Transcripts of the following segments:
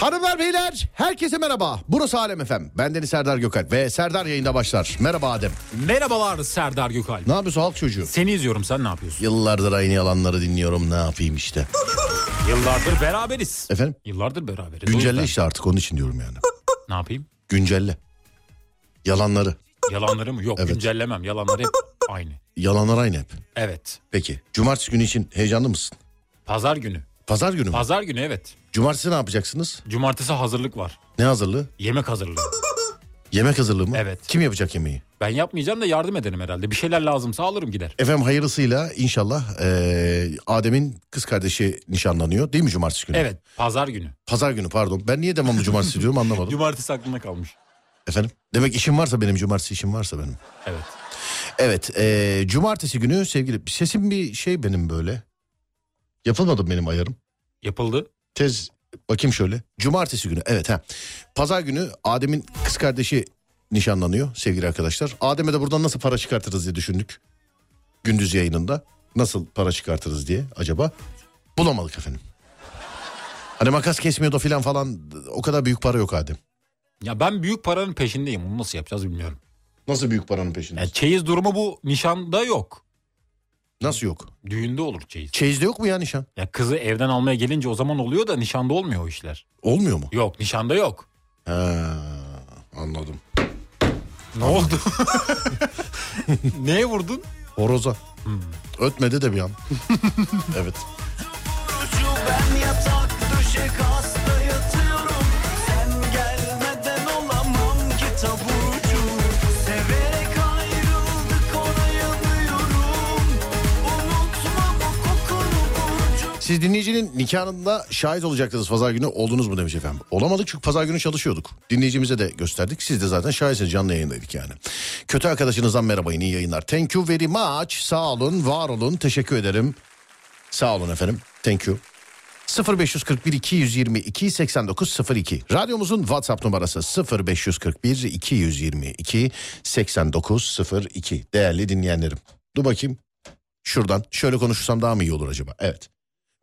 Hanımlar beyler herkese merhaba. Burası Alem Efem. Ben Deniz Serdar Gökalp ve Serdar yayında başlar. Merhaba Adem. Merhabalar Serdar Gökalp. Ne yapıyorsun halk çocuğu? Seni izliyorum sen ne yapıyorsun? Yıllardır aynı yalanları dinliyorum ne yapayım işte. Yıllardır beraberiz. Efendim Yıllardır beraberiz. O güncelle yüzden işte artık onun için diyorum yani. Ne yapayım? Güncelle. Yalanları. Yalanları mı? Yok Evet. güncellemem. Yalanları hep aynı. Yalanlar aynı hep. Evet. Peki cumartesi günü için heyecanlı mısın? Pazar günü. Pazar günü mü? Pazar günü evet. Cumartesi ne yapacaksınız? Cumartesi hazırlık var. Ne hazırlığı? Yemek hazırlığı. Yemek hazırlığı mı? Evet. Kim yapacak yemeği? Ben yapmayacağım da yardım ederim herhalde. Bir şeyler lazımsa alırım gider. Efendim hayırlısıyla inşallah eee, Adem'in kız kardeşi nişanlanıyor değil mi cumartesi günü? Evet. Pazar günü. Pazar günü pardon. Ben niye devamlı cumartesi diyorum anlamadım. Cumartesi aklımda kalmış. Efendim? Demek işim varsa benim cumartesi işim varsa benim. Evet. Evet eee, cumartesi günü sevgili sesim bir şey benim böyle. Yapılmadı mı benim ayarım? Yapıldı. Tez bakayım şöyle. Cumartesi günü evet ha. Pazar günü Adem'in kız kardeşi nişanlanıyor sevgili arkadaşlar. Adem'e de buradan nasıl para çıkartırız diye düşündük. Gündüz yayınında. Nasıl para çıkartırız diye acaba. Bulamadık efendim. Hani makas kesmiyordu filan falan o kadar büyük para yok Adem. Ya ben büyük paranın peşindeyim. Onu nasıl yapacağız bilmiyorum. Nasıl büyük paranın peşinde? Ya çeyiz durumu bu nişanda yok. Nasıl yok? Düğünde olur çeyiz. Çeyizde yok mu ya nişan? Ya kızı evden almaya gelince o zaman oluyor da nişanda olmuyor o işler. Olmuyor mu? Yok nişanda yok. Ha, anladım. Ne oldu? Neye vurdun? Horoza. Ötmedi de bir an. evet. Şu ben yatak döşek hasta yatıyorum Sen gelmeden olamam ki taburcu Severek ayrıldık ona yanıyorum Unutma bu kokunu burcu Siz dinleyicinin nikahında şahit olacaktınız pazar günü oldunuz mu demiş efendim. Olamadık çünkü pazar günü çalışıyorduk. Dinleyicimize de gösterdik. Siz de zaten şahitsiniz canlı yayındaydık yani. Kötü arkadaşınızdan merhaba iyi yayınlar. Thank you very much. Sağ olun var olun teşekkür ederim. Sağ olun efendim. Thank you. 0541 222 8902 radyomuzun WhatsApp numarası 0541 222 8902 değerli dinleyenlerim. Dur bakayım şuradan şöyle konuşursam daha mı iyi olur acaba? Evet.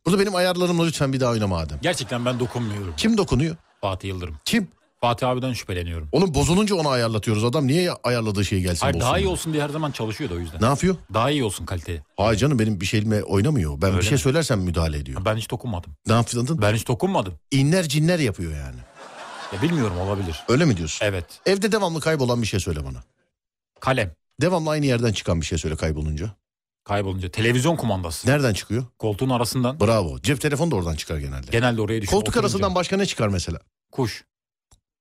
Burada benim ayarlarımla lütfen bir daha oynama Adem. Gerçekten ben dokunmuyorum. Kim dokunuyor? Fatih Yıldırım. Kim? Fatih abiden şüpheleniyorum. Onun bozulunca onu ayarlatıyoruz. Adam niye ayarladığı şeyi gelsin Hayır daha bozsun iyi diye? olsun diye her zaman çalışıyordu o yüzden. Ne yapıyor? Daha iyi olsun kaliteli. Hayır canım benim bir şeyime oynamıyor. Ben bir Öyle şey mi? söylersem müdahale ediyor. Ben hiç dokunmadım. Ne yaptın? Ben hiç dokunmadım. İnler cinler yapıyor yani. Ya bilmiyorum olabilir. Öyle mi diyorsun? Evet. Evde devamlı kaybolan bir şey söyle bana. Kalem Devamlı aynı yerden çıkan bir şey söyle kaybolunca. kaybolunca. Televizyon kumandası. Nereden çıkıyor? Koltuğun arasından. Bravo. Cep telefonu da oradan çıkar genelde. Genelde oraya düşüyor. Koltuk arasından başka ne çıkar mesela? Kuş.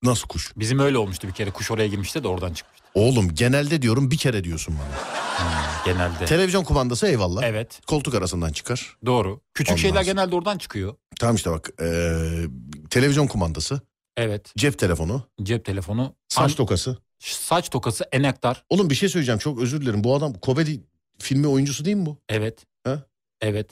Nasıl kuş? Bizim öyle olmuştu bir kere. Kuş oraya girmişti de oradan çıkmıştı. Oğlum genelde diyorum bir kere diyorsun bana. Hmm, Genelde. Televizyon kumandası eyvallah. evet. Koltuk arasından çıkar. Doğru. Küçük Ondan şeyler sonra- genelde oradan çıkıyor. Tamam işte bak eee, televizyon kumandası, Evet. cep telefonu, Cep telefonu. saç An- tokası. saç tokası enektar. Oğlum bir şey söyleyeceğim çok özür dilerim. Bu adam komedi filmi oyuncusu değil mi bu? Evet. Ha? Evet.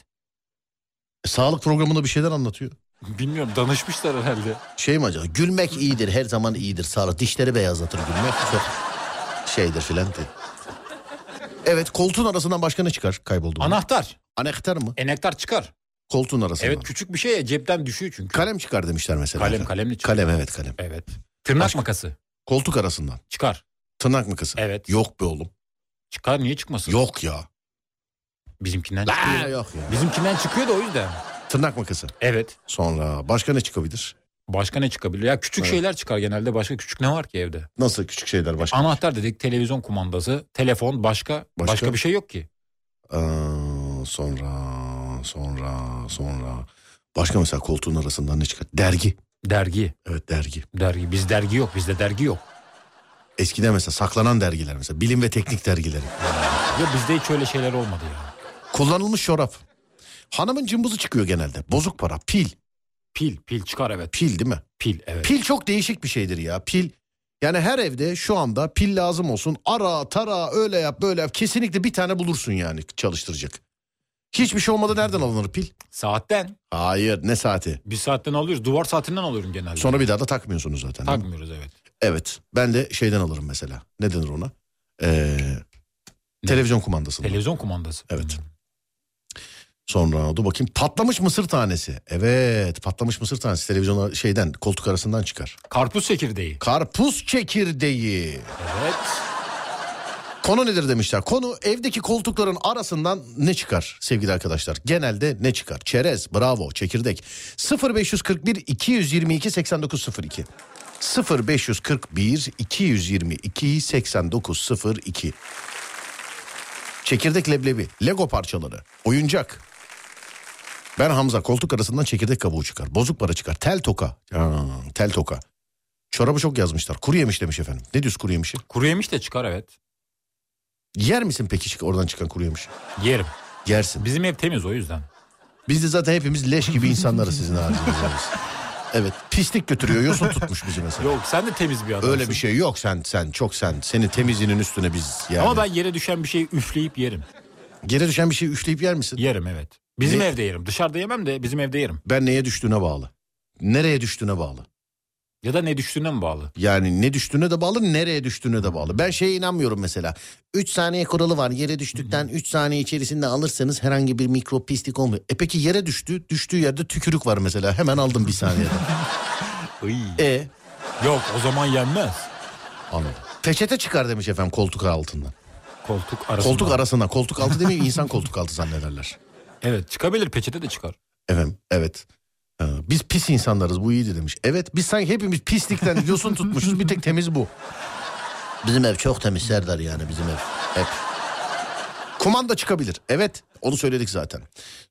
E, sağlık programında bir şeyler anlatıyor. Bilmiyorum danışmışlar herhalde. Şey mi acaba? Gülmek iyidir her zaman iyidir. Sağlık dişleri beyazlatır gülmek. Çok şeydir filan diye. Evet koltuğun arasından başka ne çıkar kayboldu? Anahtar. Anahtar mı? Enektar çıkar. Koltuğun arasından. Evet küçük bir şey ya cepten düşüyor çünkü. Kalem çıkar demişler mesela. kalem kalemle çıkar. Kalem evet kalem. Evet. Tırnak Başka- makası Koltuk arasından. çıkar. Tırnak makası. Evet. Yok be oğlum. Çıkar niye çıkmasın? Yok ya. Bizimkinden Aa, çıkıyor. yok ya. Bizimkinden çıkıyor da o yüzden. Tırnak makası. Evet. Sonra başka ne çıkabilir? Başka ne çıkabilir? Ya küçük Evet. şeyler çıkar genelde. Başka küçük ne var ki evde? Nasıl küçük şeyler başka? Anahtar dedik, televizyon kumandası, telefon, başka Başka? başka, bir şey yok ki. Aa, sonra sonra sonra başka mesela koltuğun arasından ne çıkar? Dergi. Dergi, Evet dergi. dergi. Biz dergi yok, bizde dergi yok. Eskiden mesela saklanan dergiler mesela bilim ve teknik dergileri. Ya bizde hiç öyle şeyler olmadı ya. Kullanılmış çorap. Hanımın cımbızı çıkıyor genelde. Bozuk para, pil. Pil, pil çıkar evet. Pil değil mi? Pil evet. Pil çok değişik bir şeydir ya. Pil yani her evde şu anda pil lazım olsun. Ara, tara, öyle yap, böyle yap. Kesinlikle bir tane bulursun yani çalıştıracak. Hiçbir şey olmadı nereden alınır pil? Saatten. Hayır, ne saati? Bir saatten alıyoruz. Duvar saatinden alıyorum genelde. Sonra bir daha da takmıyorsunuz zaten. değil mi? takmıyoruz evet. Evet. Ben de şeyden alırım mesela. Ne denir ona? Ee, Televizyon kumandasını. Televizyon kumandası. Evet. Sonra oldu bakayım patlamış mısır tanesi. Evet patlamış mısır tanesi televizyona şeyden koltuk arasından çıkar. Karpuz çekirdeği. Karpuz çekirdeği. Evet. Konu nedir demişler. Konu evdeki koltukların arasından ne çıkar sevgili arkadaşlar? Genelde ne çıkar? Çerez, bravo, çekirdek. 0541 222 8902. 0541 222 8902. Çekirdek leblebi, Lego parçaları, oyuncak. Ben Hamza koltuk arasından çekirdek kabuğu çıkar. Bozuk para çıkar. Tel toka. Aa, tel toka. Çorabı çok yazmışlar. Kuru yemiş demiş efendim. Ne diyorsun kuru yemişi? Kuru yemiş de çıkar evet. Yer misin peki çık- oradan çıkan kuru yemiş? Yerim. Yersin. Bizim ev temiz o yüzden. Biz de zaten hepimiz leş gibi insanlarız sizin ağzınızda. Evet pislik götürüyor yosun tutmuş bizi mesela. Yok sen de temiz bir adamsın. Öyle bir şey yok sen sen çok sen. Seni temizliğinin üstüne biz yani. Ama ben yere düşen bir şeyi üfleyip yerim. Geri düşen bir şey üfleyip yer misin? Yerim evet. Bizim Ne? evde yerim. Dışarıda yemem de bizim evde yerim. Ben neye düştüğüne bağlı. Nereye düştüğüne bağlı. Ya da ne düştüğüne mi bağlı? Yani ne düştüğüne de bağlı nereye düştüğüne de bağlı. Ben şeye inanmıyorum mesela. 3 saniye kuralı var. Yere düştükten 3 saniye içerisinde alırsanız herhangi bir mikrop pislik olmuyor. E peki yere düştü. Düştüğü yerde tükürük var mesela. Hemen aldım bir saniyede. e Yok o zaman yenmez. Anladım. Peçete çıkar demiş efendim koltuk altından. Koltuk arasında. Koltuk arasına. Koltuk altı demeyeyim insan koltuk altı zannederler. Evet çıkabilir peçete de çıkar. Efendim evet. Ee, Biz pis insanlarız bu iyiydi demiş. Evet biz sanki hepimiz pislikten yosun tutmuşuz bir tek temiz bu. Bizim ev çok temiz Serdar yani bizim ev. Hep. Kumanda çıkabilir. Evet onu söyledik zaten.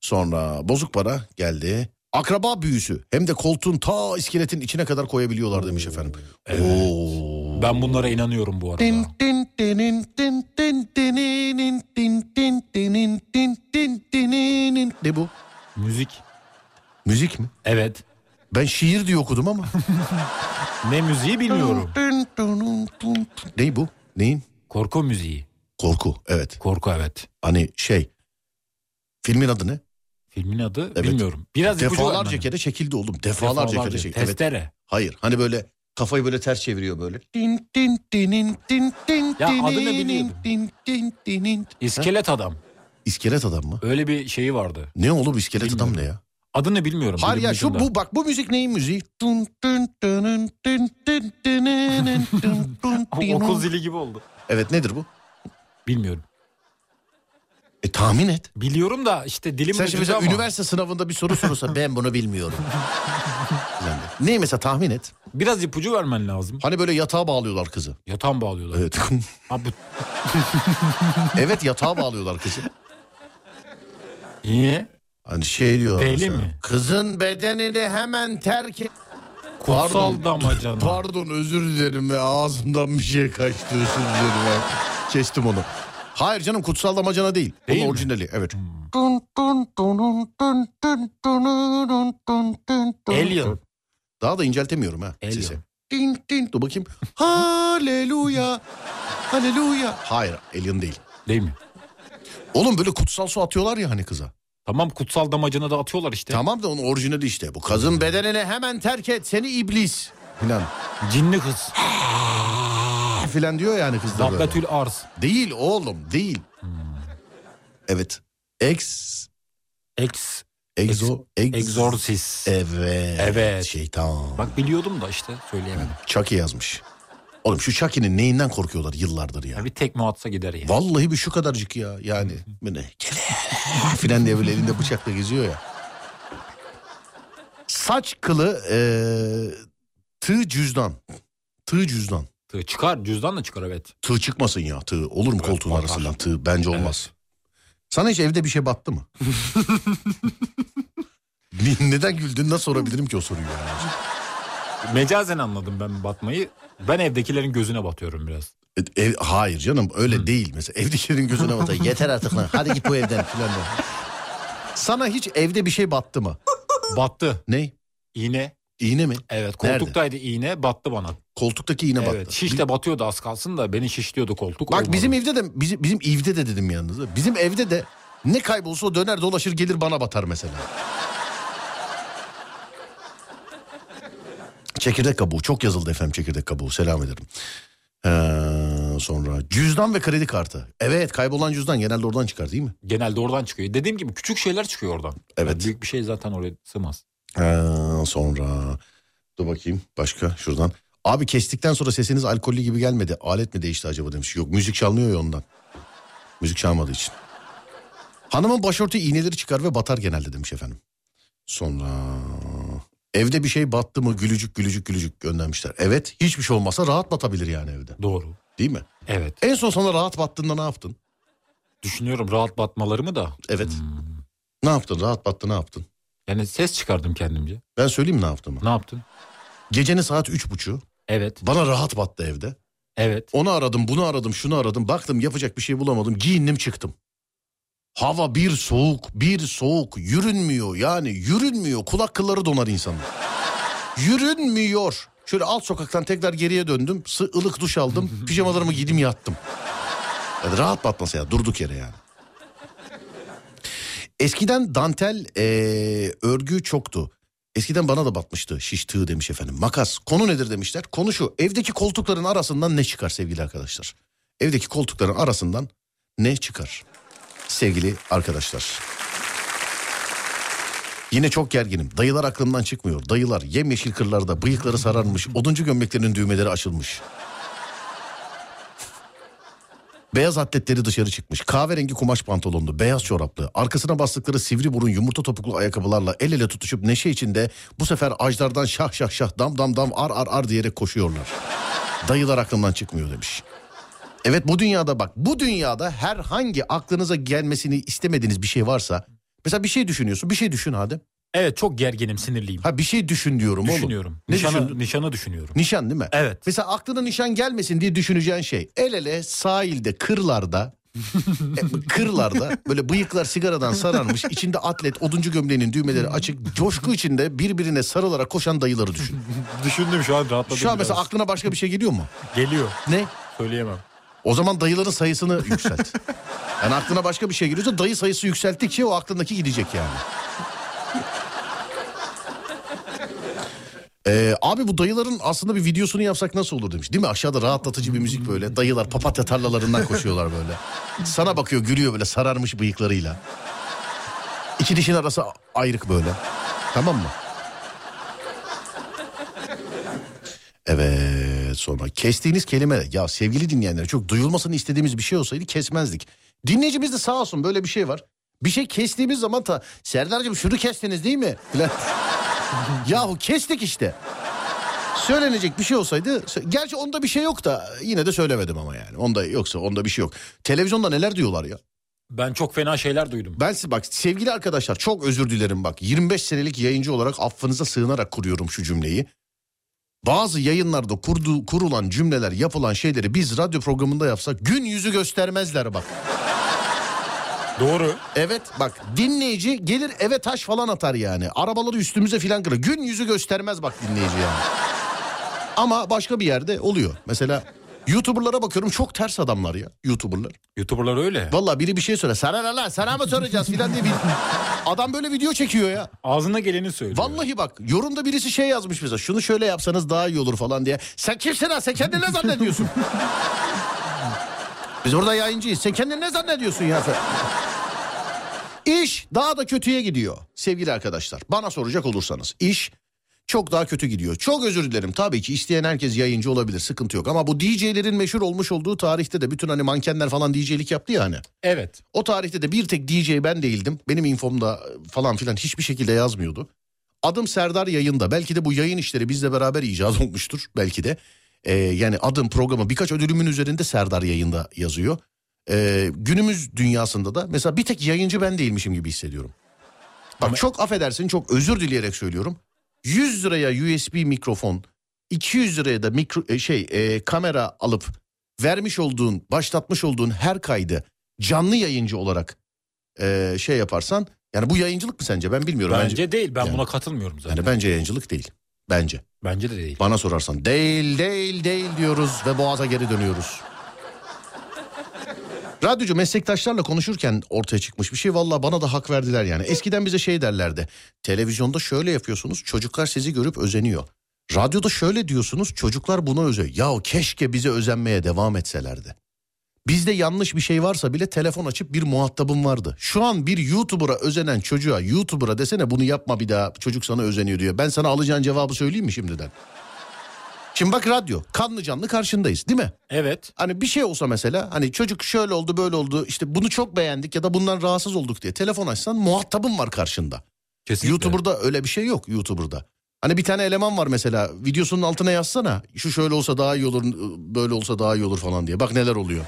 Sonra bozuk para geldi. Akraba büyüsü hem de koltuğun ta iskeletin içine kadar koyabiliyorlar demiş efendim. Oo. Ben bunlara inanıyorum bu arada. Ne bu? Müzik. Müzik mi? Evet. Ben şiir diye okudum ama. Ne müziği bilmiyorum. ne bu? Neyin? Korku müziği. Korku. Evet. Korku evet. Hani şey. Filmin adı ne? Filmin adı bilmiyorum. Biraz ipucu var mı? Defalarca kere çekildi oğlum. Defalarca, kere çekildi. Evet. Testere. Hayır. Hani böyle kafayı böyle ters çeviriyor böyle. Ya adını biliyordum. İskelet adam. İskelet adam mı? Öyle bir şeyi vardı. Ne oğlum iskelet adam ne ya? Adını bilmiyorum. Hayır dilimin ya şu ucunda. bu bak bu müzik neyin müziği? O- Okul zili gibi oldu. evet nedir bu? Bilmiyorum. E tahmin et. Biliyorum da işte dilim Sen şimdi mesela ucunda ama. üniversite sınavında bir soru sorulsa ben bunu bilmiyorum. Yani ne mesela tahmin et. Biraz ipucu vermen lazım. Hani böyle yatağa bağlıyorlar kızı. Yatan bağlıyorlar. Evet. Ha, bu... evet yatağa bağlıyorlar kızı. Niye? Hani şey diyor. Belli mesela, mi? Kızın bedenini hemen terk et. Kutsal damacana. Pardon özür dilerim ya ağzımdan bir şey kaçtı özür dilerim ya. Kestim onu. Hayır canım kutsal damacana değil. Değil Onun mi? Hmm. orijinali evet. Alien. Daha da inceltemiyorum ha Alien. sesi. Din din dur bakayım. Haleluya. Haleluya. Hayır Alien değil. Değil mi? Oğlum böyle kutsal su atıyorlar ya hani kıza. Tamam kutsal damacana da atıyorlar işte. Tamam da onun orijinali işte bu. Kızın bedenini hemen terk et seni iblis. Filan. Cinli kız. Filan diyor yani kız da böyle. Zabbetül arz. Değil oğlum değil. Evet. Ex. Ex. Exo. Ex. Exorcist. Evet. Evet. Şeytan. Bak biliyordum da işte söyleyemedim. Chucky yazmış. Oğlum şu Chucky'nin neyinden korkuyorlar yıllardır ya. Ya bir tekme atsa gider ya. Vallahi bir şu kadarcık ya yani. Böyle filan diye böyle elinde bıçakla geziyor ya. Saç kılı eee tığ cüzdan. Tığ cüzdan. Tığ çıkar cüzdan da çıkar evet. Tığ çıkmasın ya tığ. Olur mu Evet, koltuğun batar. arasından tığ? Bence olmaz. Sana hiç evde bir şey battı mı? Ni- Neden güldün? Nasıl sorabilirim ki o soruyu? Yani? Mecazen anladım ben batmayı. Ben evdekilerin gözüne batıyorum biraz. E, ev- hayır canım öyle değil. Mesela evdekilerin gözüne batar. Yeter artık lan. Hadi git bu evden filan. diyor. Sana hiç evde bir şey battı mı? Battı. Ney? İğne. İğne mi? Evet Nerede? koltuktaydı iğne battı bana. Koltuktaki iğne evet battı. şiş de batıyordu az kalsın da beni şişliyordu koltuk. Bak olmadı. bizim evde de bizim, bizim evde de dedim yalnız. Bizim evde de ne kaybolsa o döner dolaşır gelir bana batar mesela. Çekirdek kabuğu çok yazıldı efendim çekirdek kabuğu selam ederim. Ee, Ondan sonra cüzdan ve kredi kartı. Evet kaybolan cüzdan genelde oradan çıkar değil mi? Genelde oradan çıkıyor. Dediğim gibi küçük şeyler çıkıyor oradan. Evet. Yani büyük bir şey zaten oraya sığmaz. Ha, sonra dur bakayım başka şuradan. Abi kestikten sonra sesiniz alkollü gibi gelmedi. Alet mi değişti acaba demiş. Yok müzik çalmıyor ya ondan. Müzik çalmadığı için. Hanımın başörtü iğneleri çıkar ve batar genelde demiş efendim. Sonra evde bir şey battı mı gülücük gülücük gülücük göndermişler. Evet hiçbir şey olmasa rahat batabilir yani evde Doğru. değil mi? Evet. En son sana rahat battığında ne yaptın? Düşünüyorum rahat batmalarımı da. Evet. Ne yaptın rahat battı ne yaptın? Yani ses çıkardım kendimce. Ben söyleyeyim ne yaptığımı. Ne yaptın? Gecenin saat üç buçuğu Evet. bana rahat battı evde. Evet. Onu aradım, bunu aradım, şunu aradım. Baktım yapacak bir şey bulamadım. Giyindim çıktım. Hava bir soğuk, bir soğuk. Yürünmüyor yani yürünmüyor. Kulak kılları donar insanın. yürünmüyor. Şöyle alt sokaktan tekrar geriye döndüm. Sı ılık duş aldım. Pijamalarımı giydim yattım. Yani rahat batması ya durduk yere yani. Eskiden dantel eee, örgü çoktu. Eskiden bana da batmıştı şiş tığ demiş efendim. Makas konu nedir demişler. Konu şu evdeki koltukların arasından ne çıkar sevgili arkadaşlar? Evdeki koltukların arasından ne çıkar? Sevgili arkadaşlar. Yine çok gerginim. Dayılar aklımdan çıkmıyor. Dayılar yemyeşil kırlarda bıyıkları sararmış. Oduncu gömleklerinin düğmeleri açılmış. Beyaz atletleri dışarı çıkmış. Kahverengi kumaş pantolonlu, beyaz çoraplı, arkasına bastıkları sivri burun yumurta topuklu ayakkabılarla el ele tutuşup neşe içinde bu sefer ajdardan şah şah şah dam dam dam ar ar ar diyerek koşuyorlar. Dayılar aklımdan çıkmıyor demiş. Evet bu dünyada bak bu dünyada herhangi aklınıza gelmesini istemediğiniz bir şey varsa mesela bir şey düşünüyorsun bir şey düşün Adem. Evet çok gerginim sinirliyim. Ha bir şey düşün diyorum oğlum. Düşünüyorum. Ne nişanı, düşündün? nişanı düşünüyorum. Nişan değil mi? Evet. Mesela aklına nişan gelmesin diye düşüneceğin şey. El ele sahilde, kırlarda, e, kırlarda böyle bıyıklar sigaradan sararmış, içinde atlet, oduncu gömleğinin düğmeleri açık, coşku içinde birbirine sarılarak koşan dayıları düşün. Düşündüm şu an rahatladım. Şu an biraz. mesela aklına başka bir şey geliyor mu? Geliyor. Ne? Söyleyemem. O zaman dayıların sayısını yükselt. Yani aklına başka bir şey geliyorsa dayı sayısı yükselttikçe o aklındaki gidecek yani. Ee, abi bu dayıların aslında bir videosunu yapsak nasıl olur demiş. Değil mi? Aşağıda rahatlatıcı bir müzik böyle. Dayılar papatya tarlalarından koşuyorlar böyle. Sana bakıyor gülüyor böyle sararmış bıyıklarıyla. İki dişin arası ayrık böyle. Tamam mı? Evet sonra kestiğiniz kelime ya sevgili dinleyenler çok duyulmasını istediğimiz bir şey olsaydı kesmezdik. Dinleyicimiz de sağ olsun böyle bir şey var. Bir şey kestiğimiz zaman ta Serdar'cığım şunu kestiniz değil mi? Falan. Yahu kestik işte. Söylenecek bir şey olsaydı gerçi onda bir şey yok da yine de söylemedim ama yani. Onda yoksa onda bir şey yok. Televizyonda neler diyorlar ya? Ben çok fena şeyler duydum. Ben size bak sevgili arkadaşlar çok özür dilerim bak. 25 senelik yayıncı olarak affınıza sığınarak kuruyorum şu cümleyi. Bazı yayınlarda kurdu, kurulan cümleler, yapılan şeyleri biz radyo programında yapsak gün yüzü göstermezler bak. Doğru. Evet bak dinleyici gelir eve taş falan atar yani. Arabaları üstümüze filan kırar. Gün yüzü göstermez bak dinleyici yani. Ama başka bir yerde oluyor. Mesela YouTuber'lara bakıyorum çok ters adamlar ya YouTuber'lar. Youtuberlar öyle. Vallahi biri bir şey söyle. Sana lan sana mı soracağız filan diye bir... Adam böyle video çekiyor ya. Ağzına geleni söylüyor. Vallahi bak yorumda birisi şey yazmış bize. Şunu şöyle yapsanız daha iyi olur falan diye. Sen kimsin ha? Sen kendini ne zannediyorsun? Biz burada yayıncıyız. Sen kendini ne zannediyorsun ya? sen? İş daha da kötüye gidiyor sevgili arkadaşlar. Bana soracak olursanız iş çok daha kötü gidiyor. Çok özür dilerim. Tabii ki isteyen herkes yayıncı olabilir. Sıkıntı yok. Ama bu DJ'lerin meşhur olmuş olduğu tarihte de bütün hani mankenler falan DJ'lik yaptı ya hani. Evet. O tarihte de bir tek DJ ben değildim. Benim infomda falan filan hiçbir şekilde yazmıyordu. Adım Serdar yayında. Belki de bu yayın işleri bizle beraber icat olmuştur. Belki de. Ee, yani adım programı birkaç ödülümün üzerinde Serdar yayında yazıyor. Ee, günümüz dünyasında da mesela bir tek yayıncı ben değilmişim gibi hissediyorum. Bak çok affedersin çok özür dileyerek söylüyorum. 100 liraya USB mikrofon, 200 liraya da mikro, e, şey e, kamera alıp vermiş olduğun, başlatmış olduğun her kaydı canlı yayıncı olarak e, şey yaparsan yani bu yayıncılık mı sence? Ben bilmiyorum. Bence, değil. Ben Yani- buna katılmıyorum zaten. yani bence yayıncılık değil. Bence. Bence de değil. Bana sorarsan değil değil değil diyoruz ve boğaza geri dönüyoruz. Radyocu meslektaşlarla konuşurken ortaya çıkmış bir şey valla bana da hak verdiler yani. Eskiden bize şey derlerdi. Televizyonda şöyle yapıyorsunuz çocuklar sizi görüp özeniyor. Radyoda şöyle diyorsunuz çocuklar buna özüyor. Yahu keşke bize özenmeye devam etselerdi. Bizde yanlış bir şey varsa bile telefon açıp bir muhatabım vardı. Şu an bir YouTuber'a özenen çocuğa YouTuber'a desene bunu yapma bir daha çocuk sana özeniyor diyor. Ben sana alacağın cevabı söyleyeyim mi şimdiden? Şimdi bak radyo kanlı canlı karşındayız değil mi? Evet. Hani bir şey olsa mesela hani çocuk şöyle oldu böyle oldu işte bunu çok beğendik ya da bundan rahatsız olduk diye telefon açsan muhatabın var karşında. Kesinlikle. YouTuber'da öyle bir şey yok YouTuber'da. Hani bir tane eleman var mesela videosunun altına yazsana şu şöyle olsa daha iyi olur böyle olsa daha iyi olur falan diye bak neler oluyor.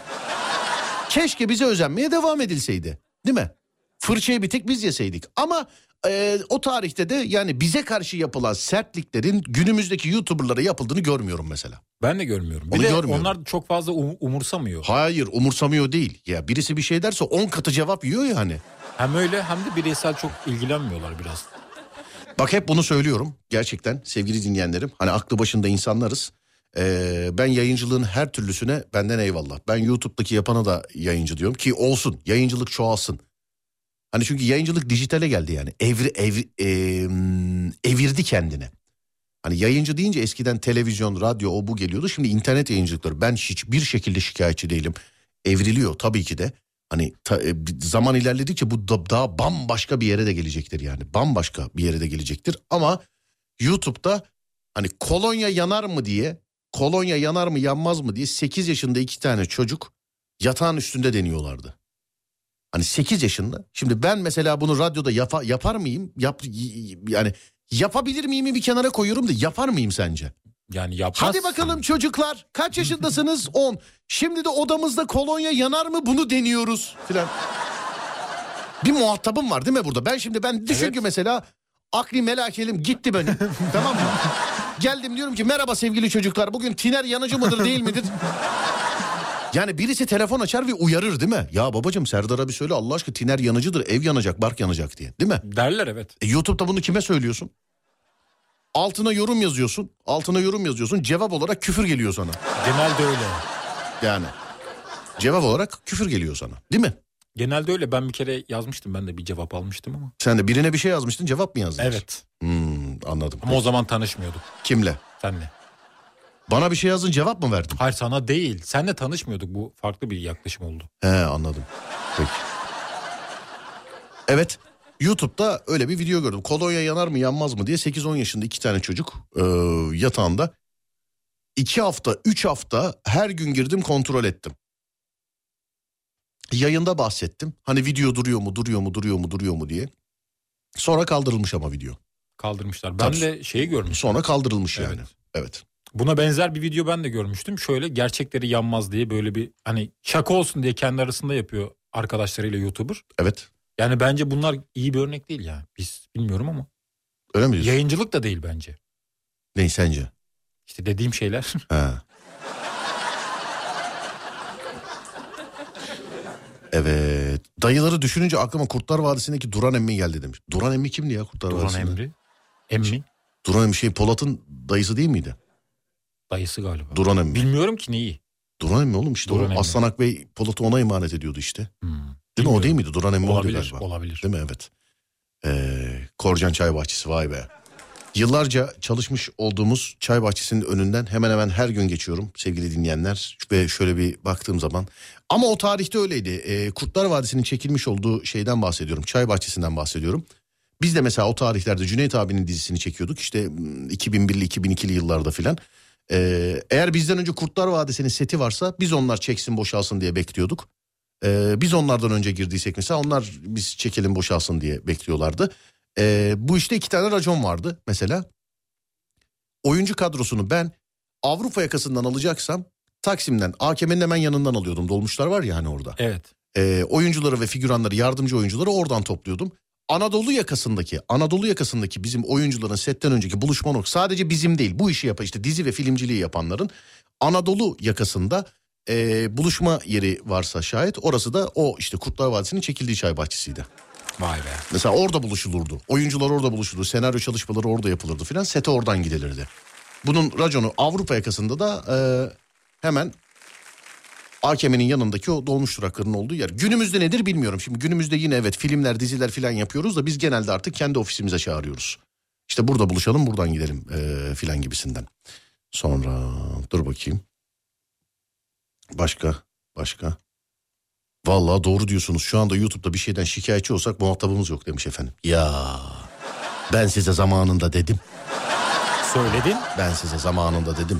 Keşke bize özenmeye devam edilseydi değil mi? Fırçayı bir tek biz yeseydik ama e, o tarihte de yani bize karşı yapılan sertliklerin günümüzdeki YouTuber'lara yapıldığını görmüyorum mesela. Ben de görmüyorum. Bir Onu de görmüyorum. onlar çok fazla um- umursamıyor. Hayır umursamıyor değil. Ya birisi bir şey derse 10 katı cevap yiyor ya hani. Hem öyle hem de bireysel çok ilgilenmiyorlar biraz. Bak hep bunu söylüyorum gerçekten sevgili dinleyenlerim. Hani aklı başında insanlarız. Ee, ben yayıncılığın her türlüsüne benden eyvallah. Ben YouTube'daki yapana da yayıncı diyorum ki olsun yayıncılık çoğalsın. Hani çünkü yayıncılık dijitale geldi yani. Evri, evri, em, evirdi kendini. Hani yayıncı deyince eskiden televizyon, radyo o bu geliyordu. Şimdi internet yayıncılıkları. Ben hiçbir şekilde şikayetçi değilim. Evriliyor tabii ki de. Hani ta- e, bir zaman ilerledikçe bu da, daha bambaşka bir yere de gelecektir yani. Bambaşka bir yere de gelecektir. Ama YouTube'da hani kolonya yanar mı diye, kolonya yanar mı yanmaz mı diye 8 yaşında iki tane çocuk yatağın üstünde deniyorlardı. Hani 8 yaşında. Şimdi ben mesela bunu radyoda yapa- yapar mıyım? Yap, y- y- yani yapabilir miyim bir kenara koyuyorum da yapar mıyım sence? Yani yapmaz. Hadi bakalım çocuklar kaç yaşındasınız? 10. Şimdi de odamızda kolonya yanar mı bunu deniyoruz filan. Bir muhatabım var değil mi burada? Ben şimdi ben düşün Evet. ki mesela akli melakelim gitti benim. tamam mı? Geldim diyorum ki merhaba sevgili çocuklar bugün tiner yanıcı mıdır değil midir? Yani birisi telefon açar ve uyarır değil mi? Ya babacığım Serdar'a bir söyle Allah aşkına tiner yanıcıdır ev yanacak bark yanacak diye değil mi? Derler evet. E, YouTube'da bunu kime söylüyorsun? Altına yorum yazıyorsun. Altına yorum yazıyorsun. Cevap olarak küfür geliyor sana. Genelde öyle. Yani. Cevap olarak küfür geliyor sana. Değil mi? Genelde öyle. Ben bir kere yazmıştım. Ben de bir cevap almıştım ama. Sen de birine bir şey yazmıştın cevap mı yazdın? Evet. Hmm, anladım. Ama o zaman tanışmıyorduk Kimle? senle. Bana bir şey yazdın cevap mı verdin? Hayır sana değil. Senle tanışmıyorduk. Bu farklı bir yaklaşım oldu. He anladım. Peki. Evet. YouTube'da öyle bir video gördüm. Kolonya yanar mı yanmaz mı diye 8-10 yaşında iki tane çocuk e, yatağında. 2 hafta 3 hafta her gün girdim kontrol ettim. Yayında bahsettim. Hani video duruyor mu duruyor mu duruyor mu duruyor mu diye. Sonra kaldırılmış ama video. Kaldırmışlar. Ben Tabii. de şeyi görmüştüm. Sonra kaldırılmış Evet. yani. Evet. Buna benzer bir video ben de görmüştüm. Şöyle gerçekleri yanmaz diye böyle bir hani şaka olsun diye kendi arasında yapıyor arkadaşlarıyla YouTuber. Evet. Yani bence bunlar iyi bir örnek değil yani. Biz bilmiyorum ama. Öyle mi diyorsun? Yayıncılık da değil bence. Ney sence? İşte dediğim şeyler. Ha. Evet. Dayıları düşününce aklıma Kurtlar Vadisi'ndeki Duran Emmi geldi demiş. Duran Emmi kimdi ya Kurtlar Duran Vadisi'nde? Emri. Emmi. Duran Emmi şey Polat'ın dayısı değil miydi? Dayısı galiba. Duran Emmi. Bilmiyorum ki neyi. Duran Emmi oğlum işte. Duran o Emmi. Aslan Akbey Polat'ı ona emanet ediyordu işte. Değil Hmm. mi o Bilmiyorum. değil miydi? Duran Emmi oydu Olabilir, galiba. olabilir. Değil mi? Evet. Ee, Korcan Çay Bahçesi vay be. Yıllarca çalışmış olduğumuz çay bahçesinin önünden hemen hemen her gün geçiyorum sevgili dinleyenler. Ve şöyle bir baktığım zaman. Ama o tarihte öyleydi. Ee, Kurtlar Vadisi'nin çekilmiş olduğu şeyden bahsediyorum. Çay bahçesinden bahsediyorum. Biz de mesela o tarihlerde Cüneyt abinin dizisini çekiyorduk. İşte mm, 2001'li 2002'li yıllarda filan. Ee, eğer bizden önce Kurtlar Vadisi'nin seti varsa biz onlar çeksin boşalsın diye bekliyorduk. Ee, biz onlardan önce girdiysek mesela onlar biz çekelim boşalsın diye bekliyorlardı. Ee, bu işte iki tane racon vardı mesela. Oyuncu kadrosunu ben Avrupa yakasından alacaksam Taksim'den AKM'nin hemen yanından alıyordum. Dolmuşlar var ya hani orada. Evet. Ee, oyuncuları ve figüranları yardımcı oyuncuları oradan topluyordum. Anadolu yakasındaki Anadolu yakasındaki bizim oyuncuların setten önceki buluşma nok sadece bizim değil bu işi yapan işte dizi ve filmciliği yapanların Anadolu yakasında ee, buluşma yeri varsa şayet orası da o işte Kurtlar Vadisi'nin çekildiği çay bahçesiydi. Vay be. Mesela orada buluşulurdu. Oyuncular orada buluşulurdu. Senaryo çalışmaları orada yapılırdı filan. Sete oradan gidilirdi. Bunun raconu Avrupa yakasında da e, hemen AKM'nin yanındaki o dolmuş duraklarının olduğu yer. Günümüzde nedir bilmiyorum. Şimdi günümüzde yine evet filmler, diziler filan yapıyoruz da biz genelde artık kendi ofisimize çağırıyoruz. İşte burada buluşalım buradan gidelim ee, filan gibisinden. Sonra dur bakayım. Başka başka. Vallahi doğru diyorsunuz. Şu anda YouTube'da bir şeyden şikayetçi olsak muhatabımız yok demiş efendim. Ya ben size zamanında dedim. Söyledin. Ben size zamanında dedim.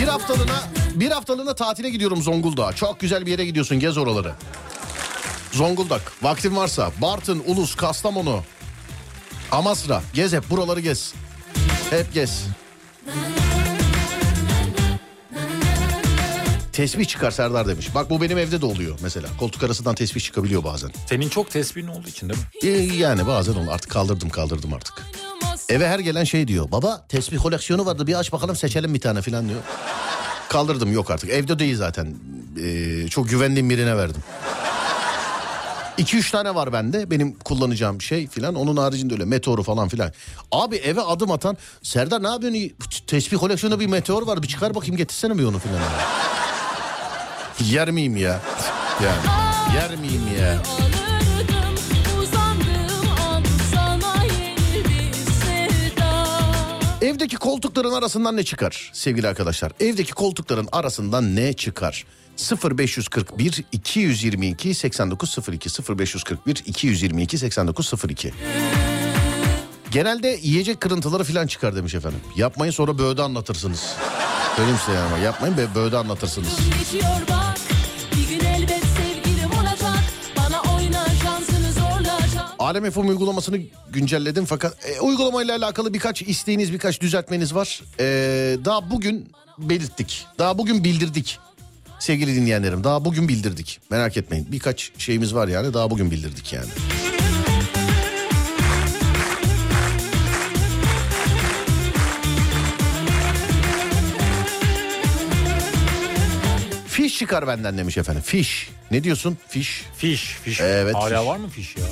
Bir haftalığına bir haftalığına tatile gidiyorum Zonguldak'a. Çok güzel bir yere gidiyorsun. Gez oraları. Zonguldak. Vaktin varsa Bartın, Ulus, Kastamonu, Amasra. Gez hep buraları gez. Hep gez. Tesbih çıkar Serdar demiş. Bak bu benim evde de oluyor mesela. Koltuk arasından tesbih çıkabiliyor bazen. Senin çok tesbihin olduğu için değil Ee, mi? yani bazen onu artık kaldırdım kaldırdım artık. Eve her gelen şey diyor. Baba tesbih koleksiyonu vardı bir aç bakalım seçelim bir tane falan diyor. Kaldırdım yok artık. Evde değil zaten. Ee, çok güvendiğim birine verdim. 2-3 tane var bende benim kullanacağım şey filan onun haricinde öyle meteoru falan filan. Abi eve adım atan Serdar ne yapıyorsun tesbih koleksiyonunda bir meteor var bir çıkar bakayım getirsene bir onu filan. Yer miyim ya? Yani, yer miyim ya? Alırdım, uzandım, al sana yeni bir sevda. Evdeki koltukların arasından ne çıkar sevgili arkadaşlar? Evdeki koltukların arasından ne çıkar? 0541 222 8902 0541 222 8902 Genelde yiyecek kırıntıları falan çıkar demiş efendim. Yapmayın sonra böğde anlatırsınız. Söyleyeyim size yani ama yapmayın ve böğde anlatırsınız. Geçiyor bak, bir gün elbet sevgilim olacak. Bana oyna şansını zorla çal. Alem FM uygulamasını güncelledim fakat e, uygulamayla alakalı birkaç isteğiniz birkaç düzeltmeniz var. E, daha bugün belirttik. Daha bugün bildirdik. Sevgili dinleyenlerim daha bugün bildirdik. Merak etmeyin birkaç şeyimiz var yani daha bugün bildirdik yani. Fiş çıkar benden demiş efendim. Fiş. Ne diyorsun? Fiş. Fiş, fiş. Evet, Hala fiş. var mı fiş ya?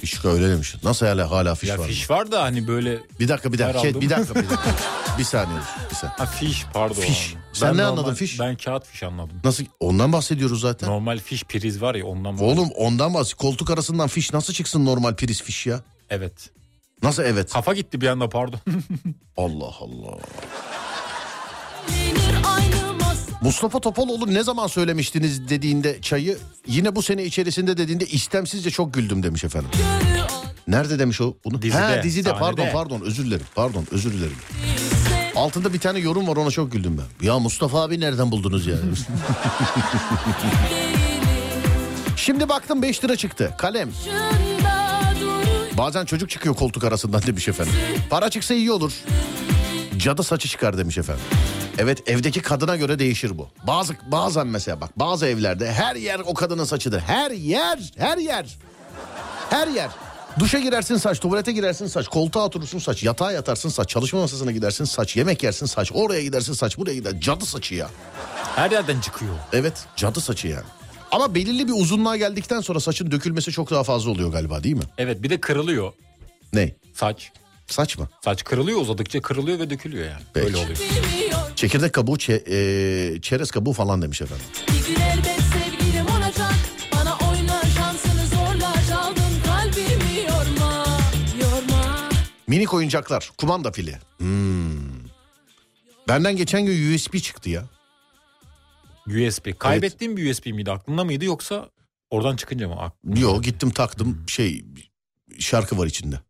Fiş çıkar öyle demiş. Nasıl hala hala fiş ya var? fiş var da hani böyle... Bir dakika bir dakika. Her Şey, aldım. bir dakika bir dakika. bir saniye. Bir saniye. Ha fiş pardon. Fiş. abi. Sen ne normal- anladın fiş? Ben kağıt fiş anladım. Nasıl? Ondan bahsediyoruz zaten. Normal fiş priz var ya ondan bahsediyorum. Oğlum ondan bahsediyoruz. Koltuk arasından fiş nasıl çıksın normal priz fiş ya? Evet. Nasıl evet? Kafa gitti bir anda pardon. Allah Allah. Yenir aynı masa. Mustafa Topaloğlu ne zaman söylemiştiniz dediğinde çayı yine bu sene içerisinde dediğinde istemsizce çok güldüm demiş efendim. Gönül al Nerede demiş o bunu? Dizide, ha dizide sahnede. pardon pardon özür dilerim. Pardon özür dilerim. ise Altında bir tane yorum var ona çok güldüm ben. Ya Mustafa abi nereden buldunuz ya? Şimdi baktım 5 lira çıktı. Kalem. şunda durur. Bazen çocuk çıkıyor koltuk arasından demiş efendim. Para çıksa iyi olur. Cadı saçı çıkar demiş efendim. Evet evdeki kadına göre değişir bu. Bazı bazen mesela bak bazı evlerde her yer o kadının saçıdır. Her yer, her yer. Her yer. Duşa girersin saç, tuvalete girersin saç, koltuğa oturursun saç, yatağa yatarsın saç, çalışma masasına gidersin saç, yemek yersin saç, oraya gidersin saç, buraya gider. Cadı saçı ya. Her yerden çıkıyor. Evet, cadı saçı yani. Ama belirli bir uzunluğa geldikten sonra saçın dökülmesi çok daha fazla oluyor galiba değil mi? Evet bir de kırılıyor Ne? saç. Saç mı? Saç kırılıyor uzadıkça kırılıyor ve dökülüyor yani. Peki. Böyle oluyor. Bilmiyor. Çekirdek kabuğu, çe- e, çerez kabuğu falan demiş efendim. Bir gün elbet sevgilim olacak. Bana oyna şansını zorla çaldın kalbimi yorma. Yorma. Minik oyuncaklar, kumanda fili. Hmm. Benden geçen gün USB çıktı ya. USB. Kaybettiğim bir USB miydi aklında mıydı yoksa oradan çıkınca mı? Ak- Yo gittim taktım şey şarkı var içinde.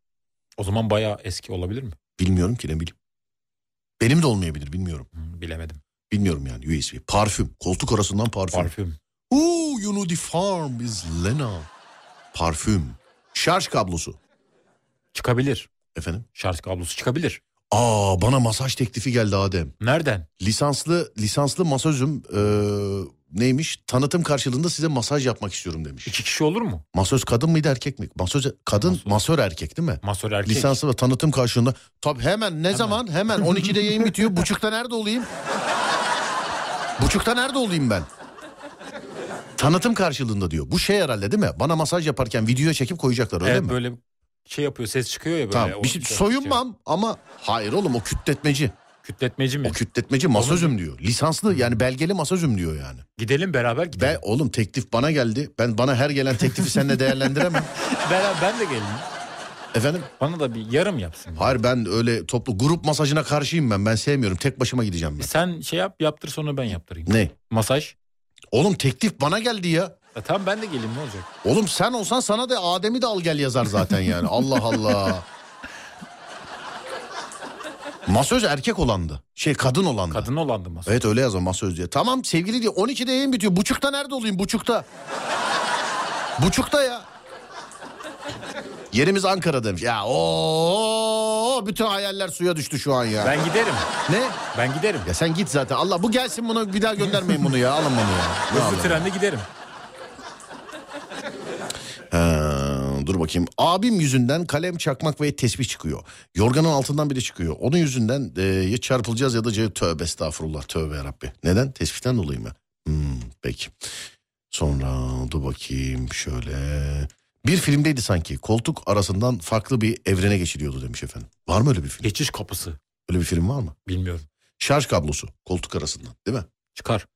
O zaman bayağı eski olabilir mi? Bilmiyorum ki ne bileyim. Benim de olmayabilir bilmiyorum. Hmm, bilemedim. Bilmiyorum yani USB. Parfüm. Koltuk arasından parfüm. Parfüm. Ooh, you know the farm is Lena. Parfüm. Şarj kablosu. Çıkabilir. Efendim? Şarj kablosu çıkabilir. Aa bana masaj teklifi geldi Adem. Nereden? Lisanslı lisanslı masözüm eee, neymiş? Tanıtım karşılığında size masaj yapmak istiyorum demiş. İki kişi olur mu? Masöz kadın mıydı erkek mi? Masöz kadın Masöz. masör erkek değil mi? Masör erkek. Lisanslı ve tanıtım karşılığında. Tabii hemen ne zaman? Hemen 12'de yayın bitiyor. Buçukta nerede olayım? Buçukta nerede olayım ben? Tanıtım karşılığında diyor. Bu şey herhalde değil mi? Bana masaj yaparken videoya çekip koyacaklar öyle evet, mi? böyle şey yapıyor ses çıkıyor ya böyle. tamam. O- Bir şey, soyunmam ama hayır oğlum o kütletmeci. Kütletmeci mi? O kütletmeci masözüm diyor. Lisanslı yani belgeli masözüm diyor yani. Gidelim beraber gidelim. Ve oğlum teklif bana geldi. Ben bana her gelen teklifi seninle değerlendiremem. Beraber ben de geleyim. Efendim? Bana da bir yarım yapsın. Hayır ben öyle toplu grup masajına karşıyım ben. Ben sevmiyorum. Tek başıma gideceğim ben. Sen şey yap yaptır sonra ben yaptırayım. Ne? Masaj. Oğlum teklif bana geldi ya. E, tamam ben de geleyim ne olacak? Oğlum sen olsan sana da Adem'i de al gel yazar zaten yani. Allah Allah. Masöz erkek olandı. Şey kadın olandı. Kadın olandı masaj. Evet öyle yazma masöz diye. Tamam sevgili diye 12'de yayın bitiyor. Buçukta nerede olayım buçukta? buçukta ya. Yerimiz Ankara demiş. Ya o bütün hayaller suya düştü şu an ya. Ben giderim. Ne? Ben giderim. Ya sen git zaten. Allah bu gelsin bunu bir daha göndermeyin bunu ya. Alın bunu ya. Ne Hızlı alın? trende giderim. Ee, dur bakayım. Abim yüzünden kalem, çakmak ve tesbih çıkıyor. Yorganın altından biri çıkıyor. Onun yüzünden e, ya çarpılacağız ya da ce- tövbe estağfurullah tövbe yarabbi. Neden? Tespitten dolayı mı? Hmm, peki. Sonra dur bakayım şöyle. Bir filmdeydi sanki. Koltuk arasından farklı bir evrene geçiliyordu demiş efendim. Var mı öyle bir film? Geçiş kapısı. Öyle bir film var mı? Bilmiyorum. Şarj kablosu koltuk arasından değil mi? Çıkar.